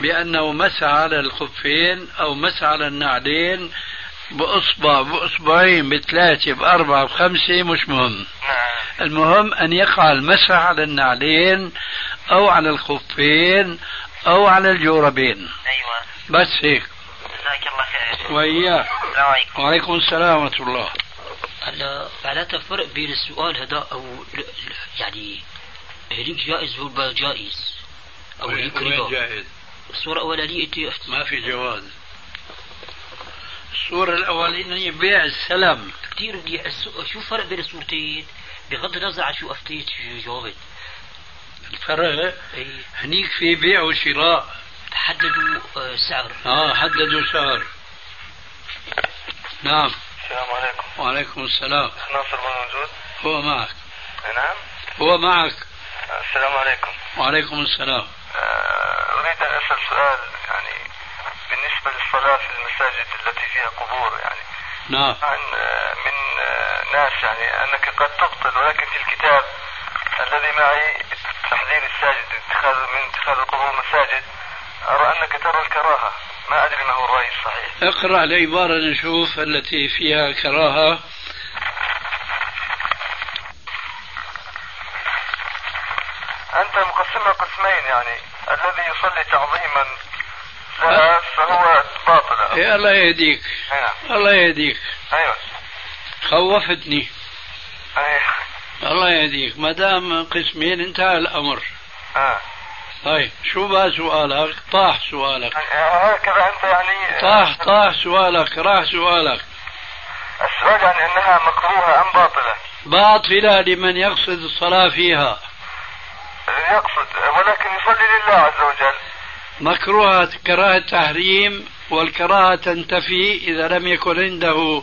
S4: بأنه مسح على الخفين أو مسح على النعلين بأصبع بأصبعين بثلاثة بأربعة بخمسة مش مهم
S10: نعم
S4: المهم أن يقع المسح على النعلين أو على الخفين أو على الجوربين
S10: أيوة
S4: بس هيك
S10: جزاك الله خير
S4: وإياك
S10: السلام عليكم
S4: وعليكم السلام ورحمة الله
S9: هلا معناتها فرق بين السؤال هذا او ال- ال- يعني هليك جائز والبا جائز او هليك ربا
S4: جائز
S9: الصورة الأولانية أنت أحت-
S4: ما في جواز الصورة الأولانية بيع السلم
S9: كثير بدي أسو- شو الفرق بين الصورتين بغض النظر عن شو أفتيت شو جاوبت
S4: الفرق
S9: إيه
S4: هنيك في بيع وشراء
S9: تحددوا آه، السعر
S4: اه حددوا سعر نعم
S10: السلام عليكم
S4: وعليكم السلام
S10: ناصر بن موجود
S4: هو معك
S10: نعم
S4: هو معك
S10: السلام عليكم
S4: وعليكم السلام
S10: آه، أريد أن أسأل سؤال يعني بالنسبة للصلاة في المساجد التي فيها قبور يعني
S4: نعم
S10: عن آه، من آه، ناس يعني أنك قد تبطل ولكن في الكتاب الذي معي تحذير الساجد اتخاذ من اتخاذ القبور مساجد أرى أنك ترى الكراهة ما أدري ما هو الرأي الصحيح
S4: اقرأ العبارة نشوف التي فيها كراهة
S10: أنت مقسمها قسمين يعني الذي يصلي تعظيما لها فهو باطل
S4: يا إيه، الله يهديك
S10: أي نعم
S4: الله يهديك
S10: أيوه
S4: خوفتني
S10: أي
S4: الله يهديك ما دام قسمين انتهى الأمر
S10: آه.
S4: طيب شو بقى سؤالك طاح سؤالك
S10: هكذا انت آه، يعني
S4: طاح طاح سؤالك راح سؤالك
S10: السؤال يعني انها مكروهه ام باطله؟
S4: باطلة لمن يقصد الصلاة فيها
S10: يقصد ولكن يصلي لله عز وجل
S4: مكروهة كراهة تحريم والكراهة تنتفي إذا لم يكن عنده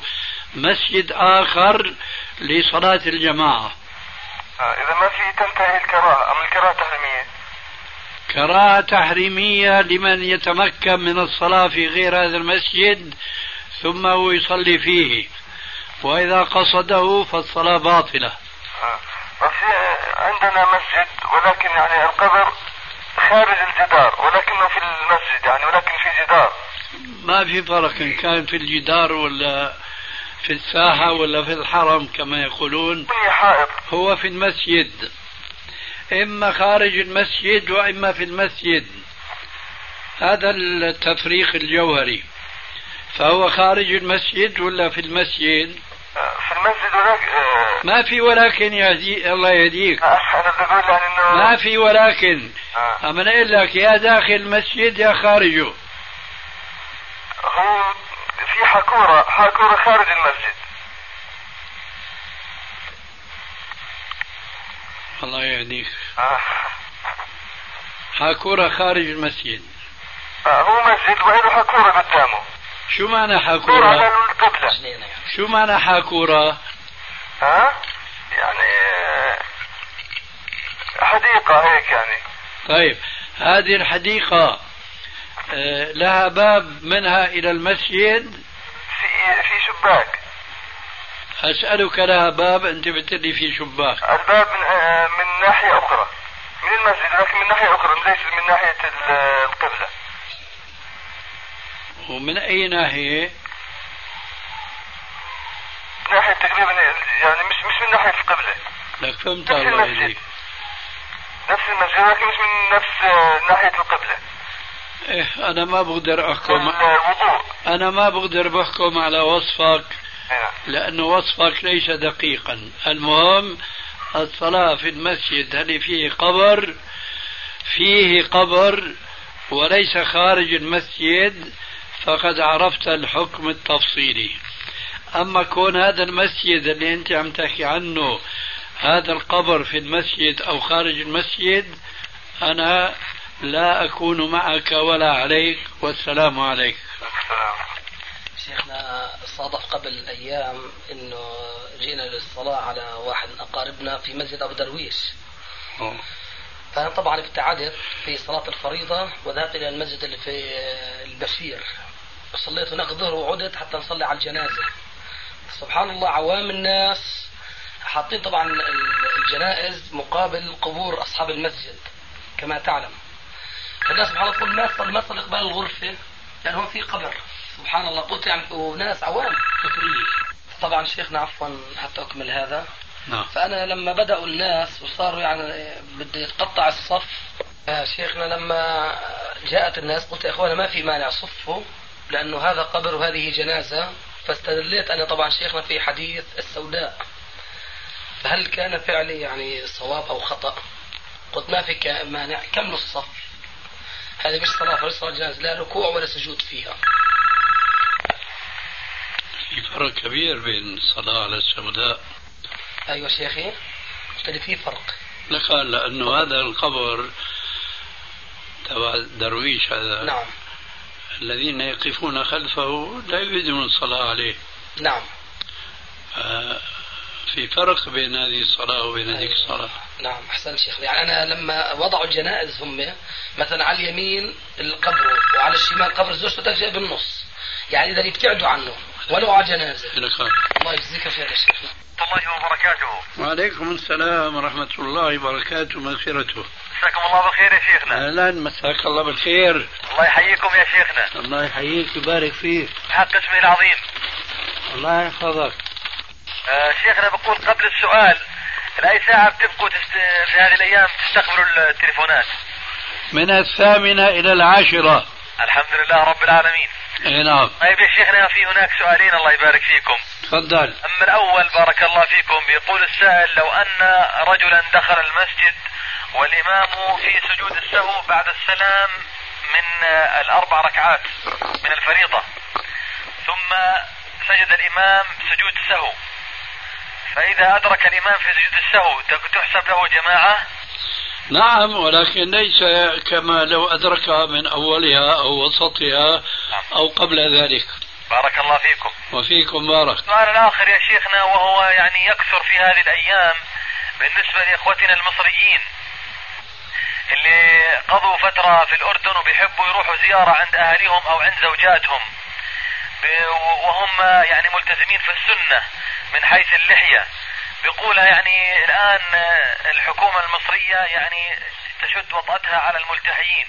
S4: مسجد آخر لصلاة الجماعة
S10: آه، اذا ما في تنتهي الكراهه ام الكراهه تحريميه؟
S4: كراهة تحريمية لمن يتمكن من الصلاة في غير هذا المسجد ثم هو يصلي فيه وإذا قصده فالصلاة باطلة
S10: آه. وفي عندنا مسجد ولكن يعني القبر خارج الجدار ولكنه في المسجد يعني ولكن في جدار
S4: ما في فرق إن كان في الجدار ولا في الساحة ولا في الحرم كما يقولون
S10: بني حائط
S4: هو في المسجد إما خارج المسجد وإما في المسجد هذا التفريق الجوهري فهو خارج المسجد ولا في المسجد
S10: آه، في المسجد ولكن آه،
S4: ما في ولكن يهدي الله يهديك
S10: انا بقول يعني انه
S4: ما في ولكن
S10: آه.
S4: أما أنا أقول لك يا داخل المسجد يا خارجه
S10: هو في حكوره حكوره خارج المسجد
S4: الله يهديك
S10: آه.
S4: حاكورة خارج المسجد
S10: آه، هو مسجد وله حكوره قدامه
S4: شو معنى
S10: دور على
S4: حاكورة
S10: القبلة
S4: شو معنى حاكورة
S10: ها يعني آه، حديقة هيك يعني
S4: طيب هذه الحديقة آه، لها باب منها إلى المسجد
S10: في في شباك
S4: أسألك لها باب أنت بتلي في شباك
S10: الباب من آه، من ناحية أخرى من المسجد لكن من ناحية أخرى ليس من ناحية ال- القبلة
S4: ومن أي ناحية
S10: من ناحية تقريبا ال- يعني مش مش من ناحية القبلة
S4: لك فهمت الله يهديك
S10: نفس المسجد لكن مش من نفس آه، ناحية القبلة
S4: إيه أنا ما بقدر أحكم
S6: آه.
S10: الوضوء
S4: أنا ما بقدر بحكم على وصفك
S10: هنا
S4: لأن وصفك ليس دقيقا المهم الصلاة في المسجد هل فيه قبر فيه قبر وليس خارج المسجد فقد عرفت الحكم التفصيلي أما كون هذا المسجد اللي أنت عم تحكي عنه هذا القبر في المسجد أو خارج المسجد أنا لا أكون معك ولا عليك والسلام عليك
S11: السلام
S1: شيخنا صادف قبل ايام انه جينا للصلاه على واحد من اقاربنا في مسجد ابو درويش
S4: أوه.
S1: فانا طبعا ابتعدت في صلاه الفريضه وذهبت الى المسجد اللي في البشير صليت هناك الظهر وعدت حتى نصلي على الجنازه سبحان الله عوام الناس حاطين طبعا ال- الجنائز مقابل قبور اصحاب المسجد كما تعلم فالناس سبحان الله تقول ما تصلي ما تصلي قبال الغرفه لان هون في قبر سبحان الله قلت يعني وناس عوام
S12: تطريز
S1: طبعا شيخنا عفوا حتى اكمل هذا
S4: نعم
S1: فانا لما بداوا الناس وصاروا يعني بده يتقطع الصف آه، شيخنا لما جاءت الناس قلت يا اخوانا ما في مانع صفوا لانه هذا قبر وهذه جنازه فاستدليت انا طبعا شيخنا في حديث السوداء فهل كان فعلي يعني صواب او خطا؟ قلت ما في كا- مانع كملوا الصف هذه مش صلاه فمش صلاه جنازه لا ركوع ولا سجود فيها
S4: في فرق كبير بين الصلاة على السوداء
S1: ايوه شيخي قلت لي في فرق
S4: لك لأنه هذا القبر تبع الدرويش هذا
S1: نعم
S4: الذين يقفون خلفه لا يريدون الصلاة عليه
S1: نعم
S4: آه، في فرق بين هذه الصلاة وبين هذيك
S1: أيوة.
S4: الصلاة
S1: نعم احسن شيخ يعني انا لما وضعوا الجنائز هم مثلا على اليمين القبر وعلى الشمال قبر زوجته بدك جاي بالنص يعني اذا يبتعدوا عنه ولو على جنازه
S4: لك
S1: الله يجزيك خير يا شيخنا
S11: الله وبركاته
S4: وعليكم السلام ورحمة الله وبركاته مغفرته
S11: مساكم الله بالخير يا شيخنا
S4: أهلا مساك الله بالخير
S11: الله يحييكم يا شيخنا
S4: الله يحييك ويبارك فيك
S11: حق اسمه العظيم
S4: الله يحفظك
S11: آه، شيخنا بقول قبل السؤال لأي ساعة بتبقوا تست... في هذه الأيام تستقبلوا التليفونات
S4: من الثامنة إلى العاشرة
S11: الحمد لله رب العالمين
S4: اي نعم
S11: طيب يا شيخنا في هناك سؤالين الله يبارك فيكم
S4: تفضل
S11: أما الأول بارك الله فيكم بيقول السائل لو أن رجلا دخل المسجد والإمام في سجود السهو بعد السلام من آه، الأربع ركعات من الفريضة ثم سجد الإمام سجود السهو فإذا أدرك الإمام في سجود السهو تحسب له جماعة
S4: نعم ولكن ليس كما لو أدركها من أولها أو وسطها أو قبل ذلك
S11: بارك الله فيكم
S4: وفيكم بارك
S11: السؤال الآخر يا شيخنا وهو يعني يكثر في هذه الأيام بالنسبة لإخوتنا المصريين اللي قضوا فترة في الأردن وبيحبوا يروحوا زيارة عند أهاليهم أو عند زوجاتهم ب- وهم يعني ملتزمين في السنة من حيث اللحية بيقولها يعني الآن آه، الحكومة المصرية يعني تشد وطأتها على الملتحيين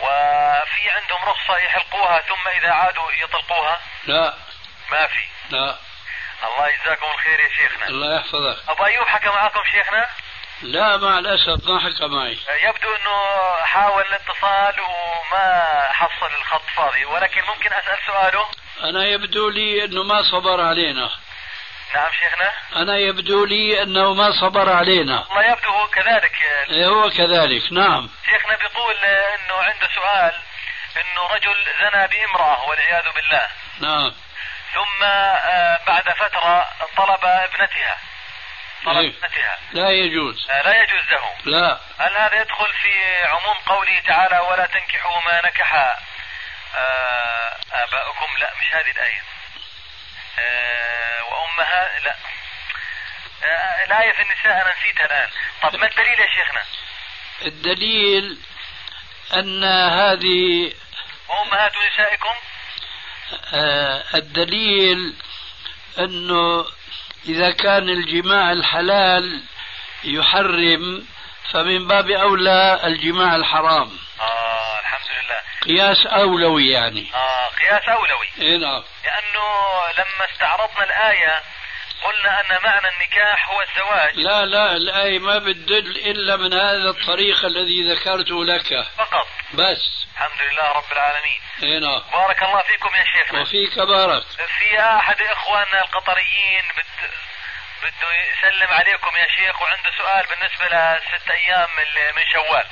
S11: وفي عندهم رخصة يحلقوها ثم إذا عادوا يطلقوها
S4: لا
S11: ما في
S4: لا
S11: الله يجزاكم الخير يا شيخنا
S4: الله يحفظك
S11: ابو ايوب حكى معاكم شيخنا
S4: لا مع الأسف ما حكى معي
S11: يبدو انه حاول الاتصال وما حصل الخط فاضي ولكن ممكن اسال سؤاله
S4: أنا يبدو لي أنه ما صبر علينا
S11: نعم شيخنا
S4: أنا يبدو لي أنه ما صبر علينا
S11: الله يبدو هو كذلك
S4: إيه هو كذلك نعم
S11: شيخنا بيقول انه عنده سؤال انه رجل زنى بامراه والعياذ بالله
S4: نعم
S11: ثم آه، بعد فتره طلب ابنتها طلب
S4: إيه.
S11: ابنتها
S4: لا يجوز
S11: آه، لا يجوز له
S4: لا
S11: هل هذا يدخل في عموم قوله تعالى ولا تنكحوا ما نكح آه، آباؤكم لا مش هذه الآية آه، وأمها لا آه، الآية في النساء أنا نسيتها الآن طب ما الدليل يا شيخنا
S4: الدليل أن هذه
S11: وأمهات نسائكم
S4: آه، الدليل أنه إذا كان الجماع الحلال يحرم فمن باب أولى الجماع الحرام
S11: آه الحمد لله
S4: قياس أولوي يعني
S11: آه قياس أولوي
S4: إيه نعم
S11: لأنه لما استعرضنا الآية قلنا أن معنى النكاح هو الزواج
S4: لا لا الآية ما بتدل إلا من هذا الطريق الذي ذكرته لك
S11: فقط
S4: بس
S11: الحمد لله رب العالمين
S4: إيه نعم
S11: بارك الله فيكم يا شيخنا
S4: وفيك بارك
S11: في احد اخواننا القطريين بد... بده يسلم عليكم يا شيخ وعنده سؤال بالنسبه لست ايام ال- من شوال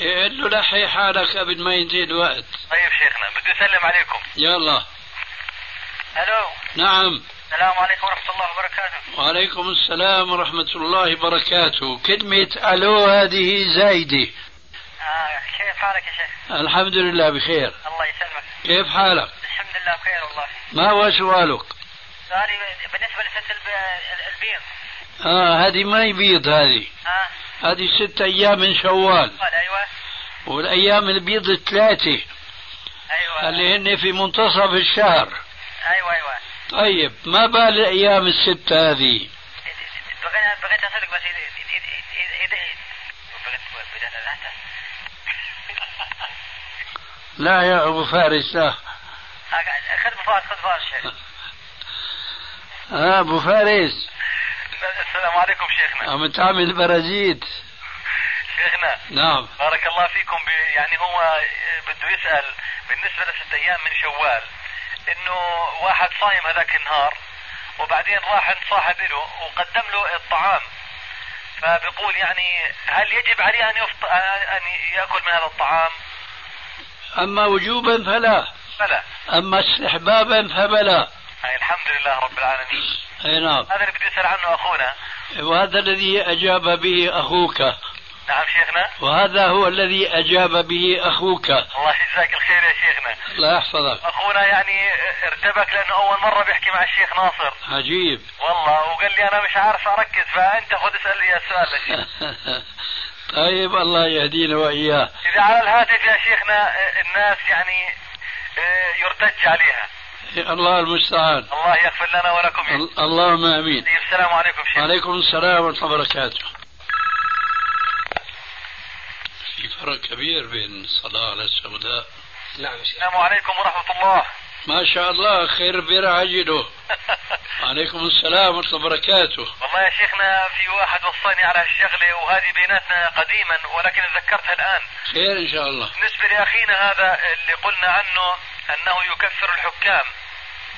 S4: إيه، قل له لحي حالك قبل ما ينتهي الوقت
S11: طيب شيخنا بده يسلم عليكم
S4: يلا
S11: الو
S4: نعم
S11: السلام عليكم ورحمة الله وبركاته
S4: وعليكم السلام ورحمة الله وبركاته كلمة ألو هذه زايدة
S11: آه كيف حالك يا شيخ؟
S4: الحمد لله بخير
S11: الله يسلمك
S4: كيف حالك
S11: الحمد لله بخير والله
S4: ما هو سؤالك
S11: سؤالي بالنسبة لست البيض
S4: آه هذه ما يبيض هذه
S11: آه
S4: هذه ست أيام من شوال
S11: قال أيوه
S4: والأيام البيض الثلاثة
S11: أيوه
S4: اللي هن في منتصف الشهر
S11: أيوه أيوه
S4: طيب ما بال الأيام الست هذه
S11: بغيت بغيت اسالك بس اذا اذا اذا اذا بغيت بدأت أتحدث.
S4: لا يا أبو فارس لا
S11: أقعد- خذ بفار خذ بفار شيخ
S4: آه أبو فارس
S11: السلام عليكم شيخنا
S4: عم تعمل برازيت
S11: شيخنا
S4: نعم
S11: بارك الله فيكم ب... يعني هو بده يسأل بالنسبة لست أيام من شوال إنه واحد صايم هذاك النهار وبعدين راح عند صاحب له وقدم له الطعام فبيقول يعني هل يجب عليه أن يفط... أن يأكل من هذا الطعام
S4: أما وجوبا فلا
S11: فلا
S4: أما استحبابا فبلا
S11: هاي الحمد لله رب العالمين
S4: أي نعم
S11: هذا اللي بده يسأل عنه أخونا
S4: وهذا الذي أجاب به أخوك
S11: نعم شيخنا
S4: وهذا هو الذي أجاب به أخوك
S11: الله يجزاك الخير يا شيخنا
S4: الله يحفظك
S11: اخونا يعني ارتبك لانه اول مره بيحكي مع الشيخ ناصر
S4: عجيب
S11: والله وقال لي انا مش عارف اركز فانت خذ اسال لي السؤال يا شيخ.
S4: طيب الله يهدينا وإياه
S11: اذا على الهاتف يا شيخنا اه، الناس يعني اه، يرتج عليها
S4: الله المستعان
S11: الله يغفر لنا ولكم يا شيخ.
S4: ال- اللهم آمين
S11: السلام عليكم شيخ
S4: وعليكم السلام ورحمة الله وبركاته في فرق كبير بين الصلاة على السوداء
S1: نعم يا شيخ
S11: السلام عليكم ورحمه الله
S4: ما شاء الله خير بر عجله عليكم السلام ورحمة الله وبركاته
S11: والله يا شيخنا في واحد وصاني على هالشغله وهذه بيناتنا قديما ولكن تذكرتها الان
S4: خير إن شاء الله
S11: بالنسبه لاخينا هذا اللي قلنا عنه انه يكفر الحكام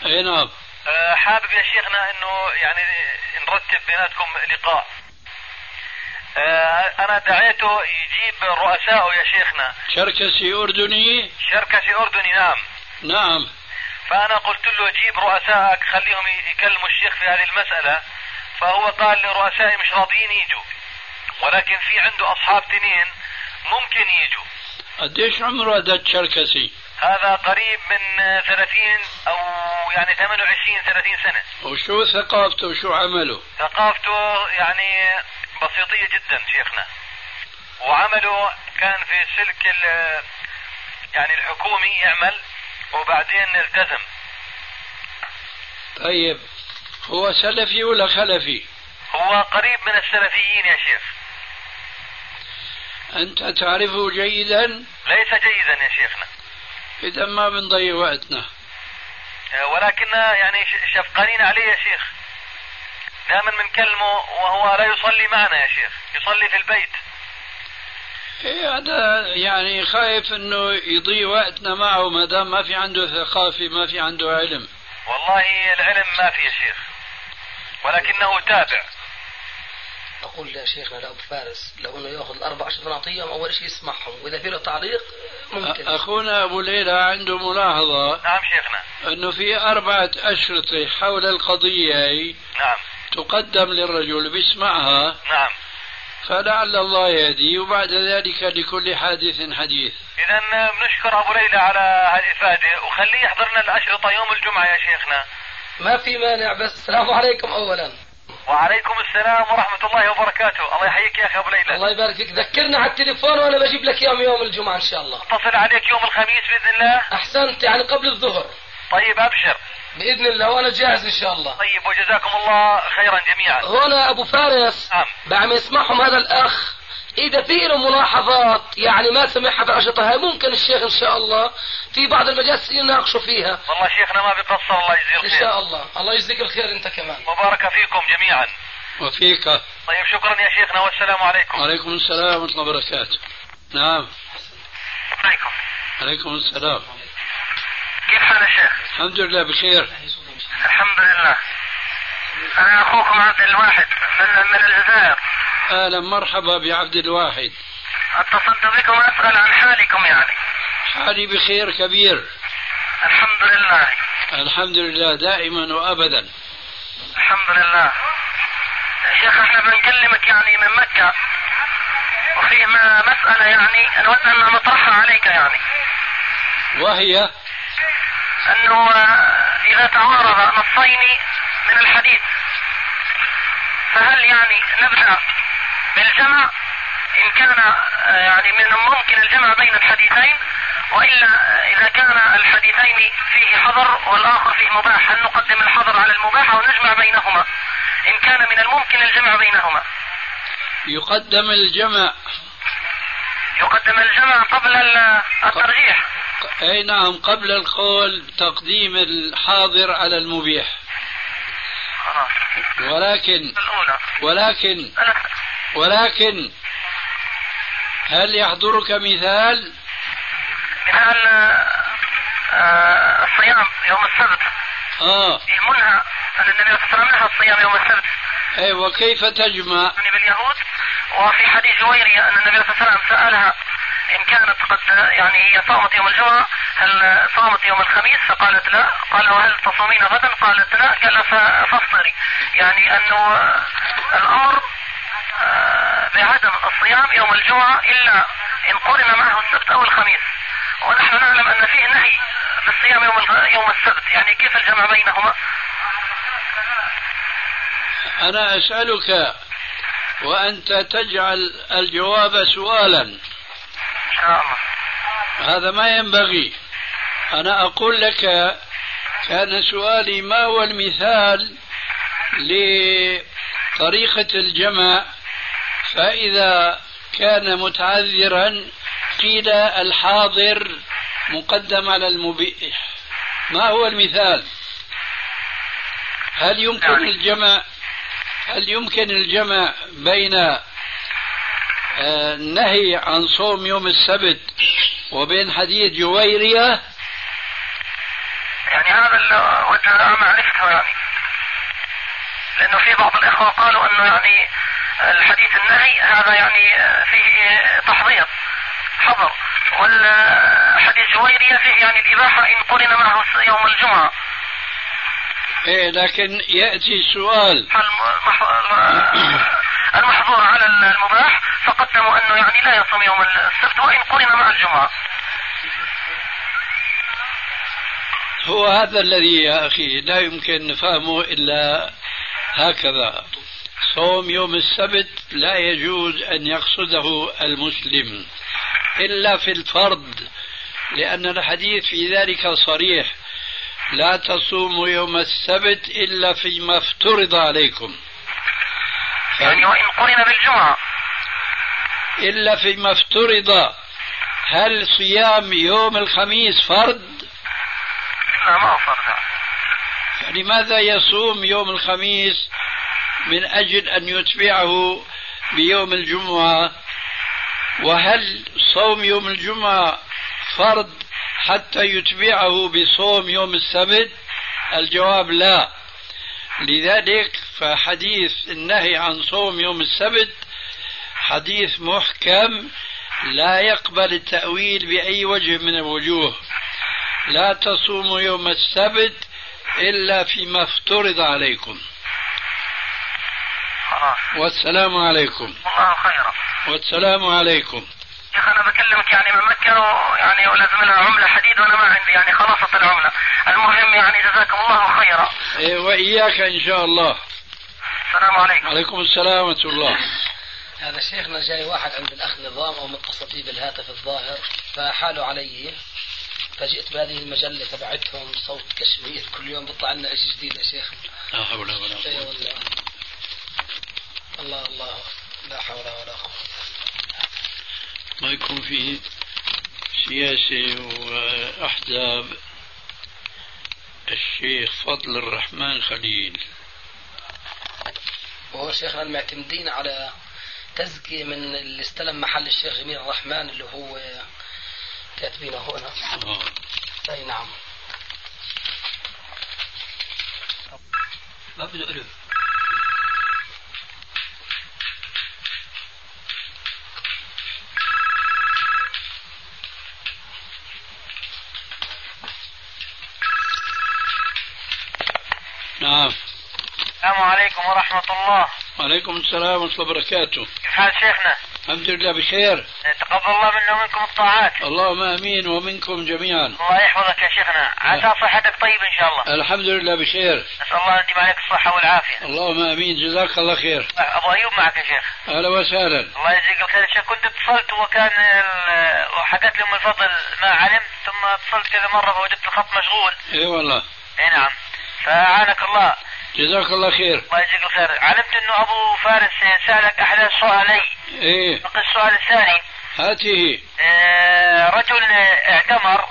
S4: أي نعم
S11: أه، حابب يا شيخنا انه يعني نرتب بيناتكم لقاء. أه، انا دعيته يجيب رؤسائه يا شيخنا،
S4: شركسي أردني
S11: شركسي اردني نعم،
S4: نعم
S11: فانا قلت له جيب رؤسائك خليهم يكلموا الشيخ في هذه المساله، فهو قال لي رؤسائي مش راضيين يجوا، ولكن في عنده اصحاب تنين ممكن يجوا،
S4: قديش عمره هذا الشركسي
S11: هذا قريب من آه، 30 او يعني 28 30 سنه.
S4: وشو ثقافته وشو عمله
S11: ثقافته يعني بسيطية جدا شيخنا وعمله كان في سلك ال- يعني الحكومي يعمل وبعدين التزم
S4: طيب هو سلفي ولا خلفي
S11: هو قريب من السلفيين يا شيخ
S4: أنت تعرفه جيدا
S11: ليس جيدا يا شيخنا
S4: إذا ما بنضيع وقتنا
S11: آه، ولكننا يعني ش- شفقانين عليه يا شيخ دائما بنكلمه وهو لا يصلي معنا يا شيخ يصلي في البيت
S4: إيه هذا يعني خايف انه يضيع وقتنا معه ما دام ما في عنده ثقافه ما في عنده علم
S11: والله العلم ما في يا شيخ ولكنه تابع
S1: أقول يا شيخنا لأبو فارس لو أنه يأخذ الأربع عشر نعطيهم أول شيء يسمعهم وإذا في له تعليق
S4: أه،
S1: ممكن
S4: اخونا ابو ليلى عنده ملاحظه
S11: نعم شيخنا
S4: انه في اربعه اشرطه حول القضيه هي
S11: نعم
S4: تقدم للرجل بيسمعها
S11: نعم
S4: فلعل الله يهدي وبعد ذلك لكل حادث حديث
S11: إذا بنشكر أبو ليلى على هالإفادة وخليه يحضرنا الأشرطة يوم الجمعة يا شيخنا
S1: ما في مانع بس السلام عليكم أولا
S11: وعليكم السلام ورحمة الله وبركاته الله يحييك يا أخي أبو ليلى
S1: الله يبارك فيك ذكرنا على التليفون وأنا بجيب لك يوم يوم الجمعة إن شاء الله
S11: أتصل عليك يوم الخميس بإذن الله
S1: أحسنت يعني قبل الظهر
S11: طيب أبشر
S1: بإذن الله وأنا جاهز إن شاء الله
S11: طيب وجزاكم الله خيرا جميعا
S1: هنا أبو فارس
S11: نعم
S1: بعد ما يسمعهم هذا الأخ إذا في له ملاحظات يعني ما سمعها في الأنشطة هاي ممكن الشيخ إن شاء الله في بعض المجالس يناقشوا فيها
S11: والله شيخنا ما بيقصر الله يجزيه
S1: إن شاء
S11: الخير
S1: الله الله يجزيك الخير أنت كمان
S11: مبارك فيكم جميعا
S4: وفيك
S11: طيب شكرا يا شيخنا والسلام عليكم
S4: وعليكم السلام ورحمه الله وبركاته نعم
S11: عليكم
S4: عليكم السلام
S11: كيف حال الشيخ؟
S4: الحمد لله بخير
S11: الحمد لله أنا أخوكم عبد الواحد من من الجزائر
S4: اهلا مرحبا بعبد الواحد
S11: اتصلت بكم اسال عن حالكم يعني
S4: حالي بخير كبير
S11: الحمد لله
S4: الحمد لله دائما وابدا
S3: الحمد لله شيخ احنا بنكلمك يعني من مكة وفي ما- مسألة يعني أنا أود أن نطرحها عليك يعني
S4: وهي
S3: أنه آه، إذا تعارض نصين من الحديث فهل يعني نبدأ بالجمع إن كان آه، يعني من الممكن الجمع بين الحديثين وإلا آه، إذا كان الحديثين فيه حظر والآخر فيه مباح هل نقدم الحظر على المباح ونجمع بينهما إن كان من الممكن الجمع بينهما
S4: يقدم الجمع
S3: يقدم الجمع قبل ال- الترجيح
S4: اي نعم قبل القول تقديم الحاضر على المبيح
S3: خلاص.
S4: ولكن
S3: الأولى
S4: ولكن
S3: أنا-
S4: ولكن هل يحضرك مثال؟
S3: مثال آه، الصيام يوم السبت
S4: اه
S3: فيه منهى أن النبي صلى الله عليه وسلم نهى الصيام يوم السبت
S4: اي وكيف تجمع؟
S3: يعني باليهود وفي حديث جويرية أن النبي صلى الله عليه وسلم سألها إن كانت قد يعني هي صامت يوم الجمعة هل صامت يوم الخميس فقالت لا قال وهل تصومين غدا قالت لا قال ف- فافطري يعني أنه الأمر آه، بعدم الصيام يوم الجمعة إلا إن قرن معه السبت أو الخميس ونحن نعلم أن فيه نهي بالصيام يوم الغ- يوم السبت يعني كيف الجمع بينهما
S4: انا اسالك وانت تجعل الجواب سؤالا
S3: إن شاء الله
S4: هذا ما ينبغي أنا أقول لك كان سؤالي ما هو المثال لطريقة الجمع فإذا كان متعذرا قيل الحاضر مقدم على المبيح ما هو المثال هل يمكن
S3: يعني.
S4: الجمع هل يمكن الجمع بين آه، النهي عن صوم يوم السبت وبين حديث جويرية
S3: يعني هذا اللي وجه الأعمى عرفته يعني لأنه في بعض الإخوة قالوا أنه يعني الحديث النهي هذا يعني فيه تحضير حظر والحديث جويرية فيه يعني الإباحة إن قرن معه يوم الجمعة
S4: إيه لكن يأتي السؤال
S3: فالم- آه، المحظور على المباح فقدموا أنه يعني لا يصوم يوم السبت وإن قرن مع الجمعة
S4: هو هذا الذي يا أخي لا يمكن فهمه إلا هكذا صوم يوم السبت لا يجوز أن يقصده المسلم إلا في الفرض لأن الحديث في ذلك صريح لا تصوموا يوم السبت إلا فيما افترض عليكم
S3: يعني وإن قرن بالجمعة
S4: إلا فيما افترض هل صيام يوم الخميس فرض
S3: لا ما أفضل
S4: فلماذا يعني يصوم يوم الخميس من أجل أن يتبعه بيوم الجمعة وهل صوم يوم الجمعة فرض حتى يتبعه بصوم يوم السبت الجواب لا لذلك فحديث النهي عن صوم يوم السبت حديث محكم لا يقبل التأويل بأي وجه من الوجوه لا تصوموا يوم السبت إلا فيما افترض عليكم
S3: خلاص
S4: والسلام عليكم
S3: والله خيرا
S4: والسلام عليكم
S3: يا اخي انا بكلمك يعني من مكه ويعني ولازم لها عمله حديد وانا ما عندي يعني خلاصه العمله المهم يعني جزاكم الله خيرا
S4: إيه وإياك إن شاء الله
S3: السلام عليكم
S4: عليكم السلام ورحمة الله
S1: هذا شيخنا جاي واحد عند الأخ نظام أو متصل بي بالهاتف الظاهر فحالوا علي فجئت بهذه المجلة تبعتهم صوت كشمير كل يوم بيطلع لنا شيء جديد يا شيخ
S4: لا حول ولا قوة
S1: اي والله الله الله لا حول ولا قوة
S4: ما يكون في سياسة وأحزاب الشيخ فضل الرحمن خليل
S1: وهو شيخنا المعتمدين على تزكية من اللي استلم محل الشيخ جميل الرحمن اللي هو كاتبينه هنا
S4: آه.
S1: اي نعم
S9: ما بده ألف
S4: نعم نعم.
S3: السلام عليكم ورحمة الله
S4: وعليكم السلام ورحمة الله وبركاته
S3: كيف حال شيخنا؟
S4: الحمد لله بخير
S3: تقبل الله منا ومنكم الطاعات
S4: اللهم امين ومنكم جميعا
S3: الله يحفظك يا شيخنا عسى صحتك طيب إن شاء الله
S4: الحمد لله بخير
S3: نسأل الله أن يديم عليك الصحة والعافية
S4: اللهم امين جزاك الله خير
S3: أبو أيوب معك يا شيخ
S4: اهلا وسهلا
S3: الله يجزيك الخير يا شيخ كنت اتصلت وكان ال- وحكت لي ام الفضل ما علمت ثم اتصلت كذا مره فوجدت الخط مشغول
S4: اي والله
S3: اي نعم فاعانك الله
S4: جزاك الله خير
S3: الله يجزيك الخير علمت انه ابو فارس سالك احد سؤالي
S4: ايه
S3: بقي السؤال الثاني
S4: هاته
S3: آه، رجل اعتمر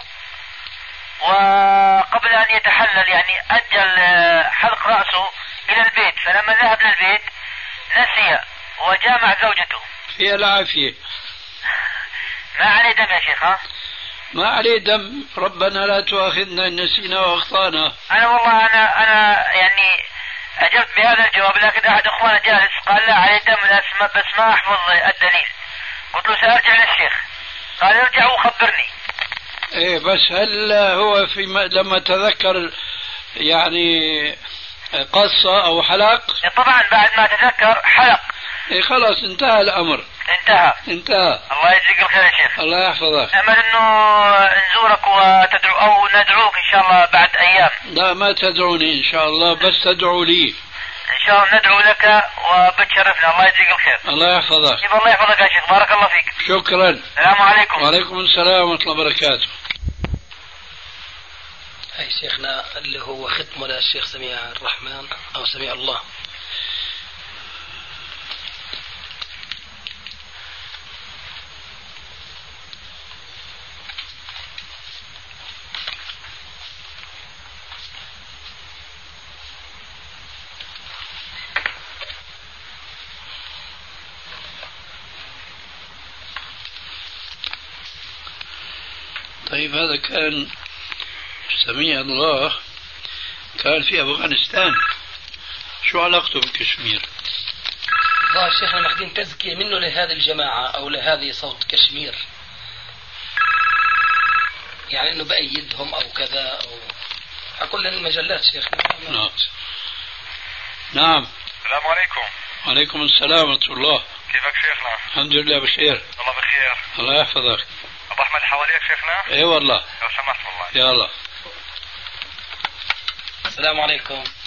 S3: وقبل ان يتحلل يعني اجل آه، حلق راسه الى البيت فلما ذهب للبيت نسي وجامع زوجته
S4: فيها العافية
S3: ما عليه دم يا شيخ ها
S4: ما عليه دم ربنا لا تؤاخذنا إن نسينا وأخطأنا
S3: انا والله انا انا يعني اجبت بهذا الجواب لكن احد اخواني جالس قال لا عليه دم لا اسم- بس ما احفظ الدليل قلت له سارجع للشيخ قال ارجع وخبرني
S4: إيه بس هل هو في ما لما تذكر يعني قص أو حلق
S3: طبعا بعد ما تذكر حلق
S4: إيه خلاص انتهى الأمر
S3: انتهى
S4: انتهى
S3: الله يجزيك الخير يا شيخ
S4: الله يحفظك
S3: امل انه نزورك وتدعو او ندعوك ان شاء الله بعد ايام
S4: لا ما تدعوني إن شاء الله بس تدعوا لي
S3: ان شاء الله ندعو لك وبتشرفنا الله يجزيك الخير
S4: الله يحفظك
S3: كيف الله يحفظك يا شيخ بارك الله فيك
S4: شكرا
S3: السلام عليكم
S4: وعليكم السلام ورحمة الله وبركاته
S1: أي شيخنا اللي هو ختم للشيخ سميع الرحمن أو سميع الله
S4: طيب هذا كان سميع الله كان في أفغانستان شو علاقته بكشمير؟
S1: الظاهر شيخنا ماخذين تزكية منه لهذه الجماعة أو لهذه صوت كشمير يعني أنه بأيدهم أو كذا أو على كل المجلات شيخنا
S4: نعم نعم
S3: السلام عليكم
S4: وعليكم السلام ورحمة الله
S3: كيفك شيخنا
S4: الحمد لله بخير
S3: الله بخير
S4: الله يحفظك
S3: ابو احمد حواليك شيخنا
S4: اي والله
S3: لو سمحت والله
S4: يا الله
S1: السلام عليكم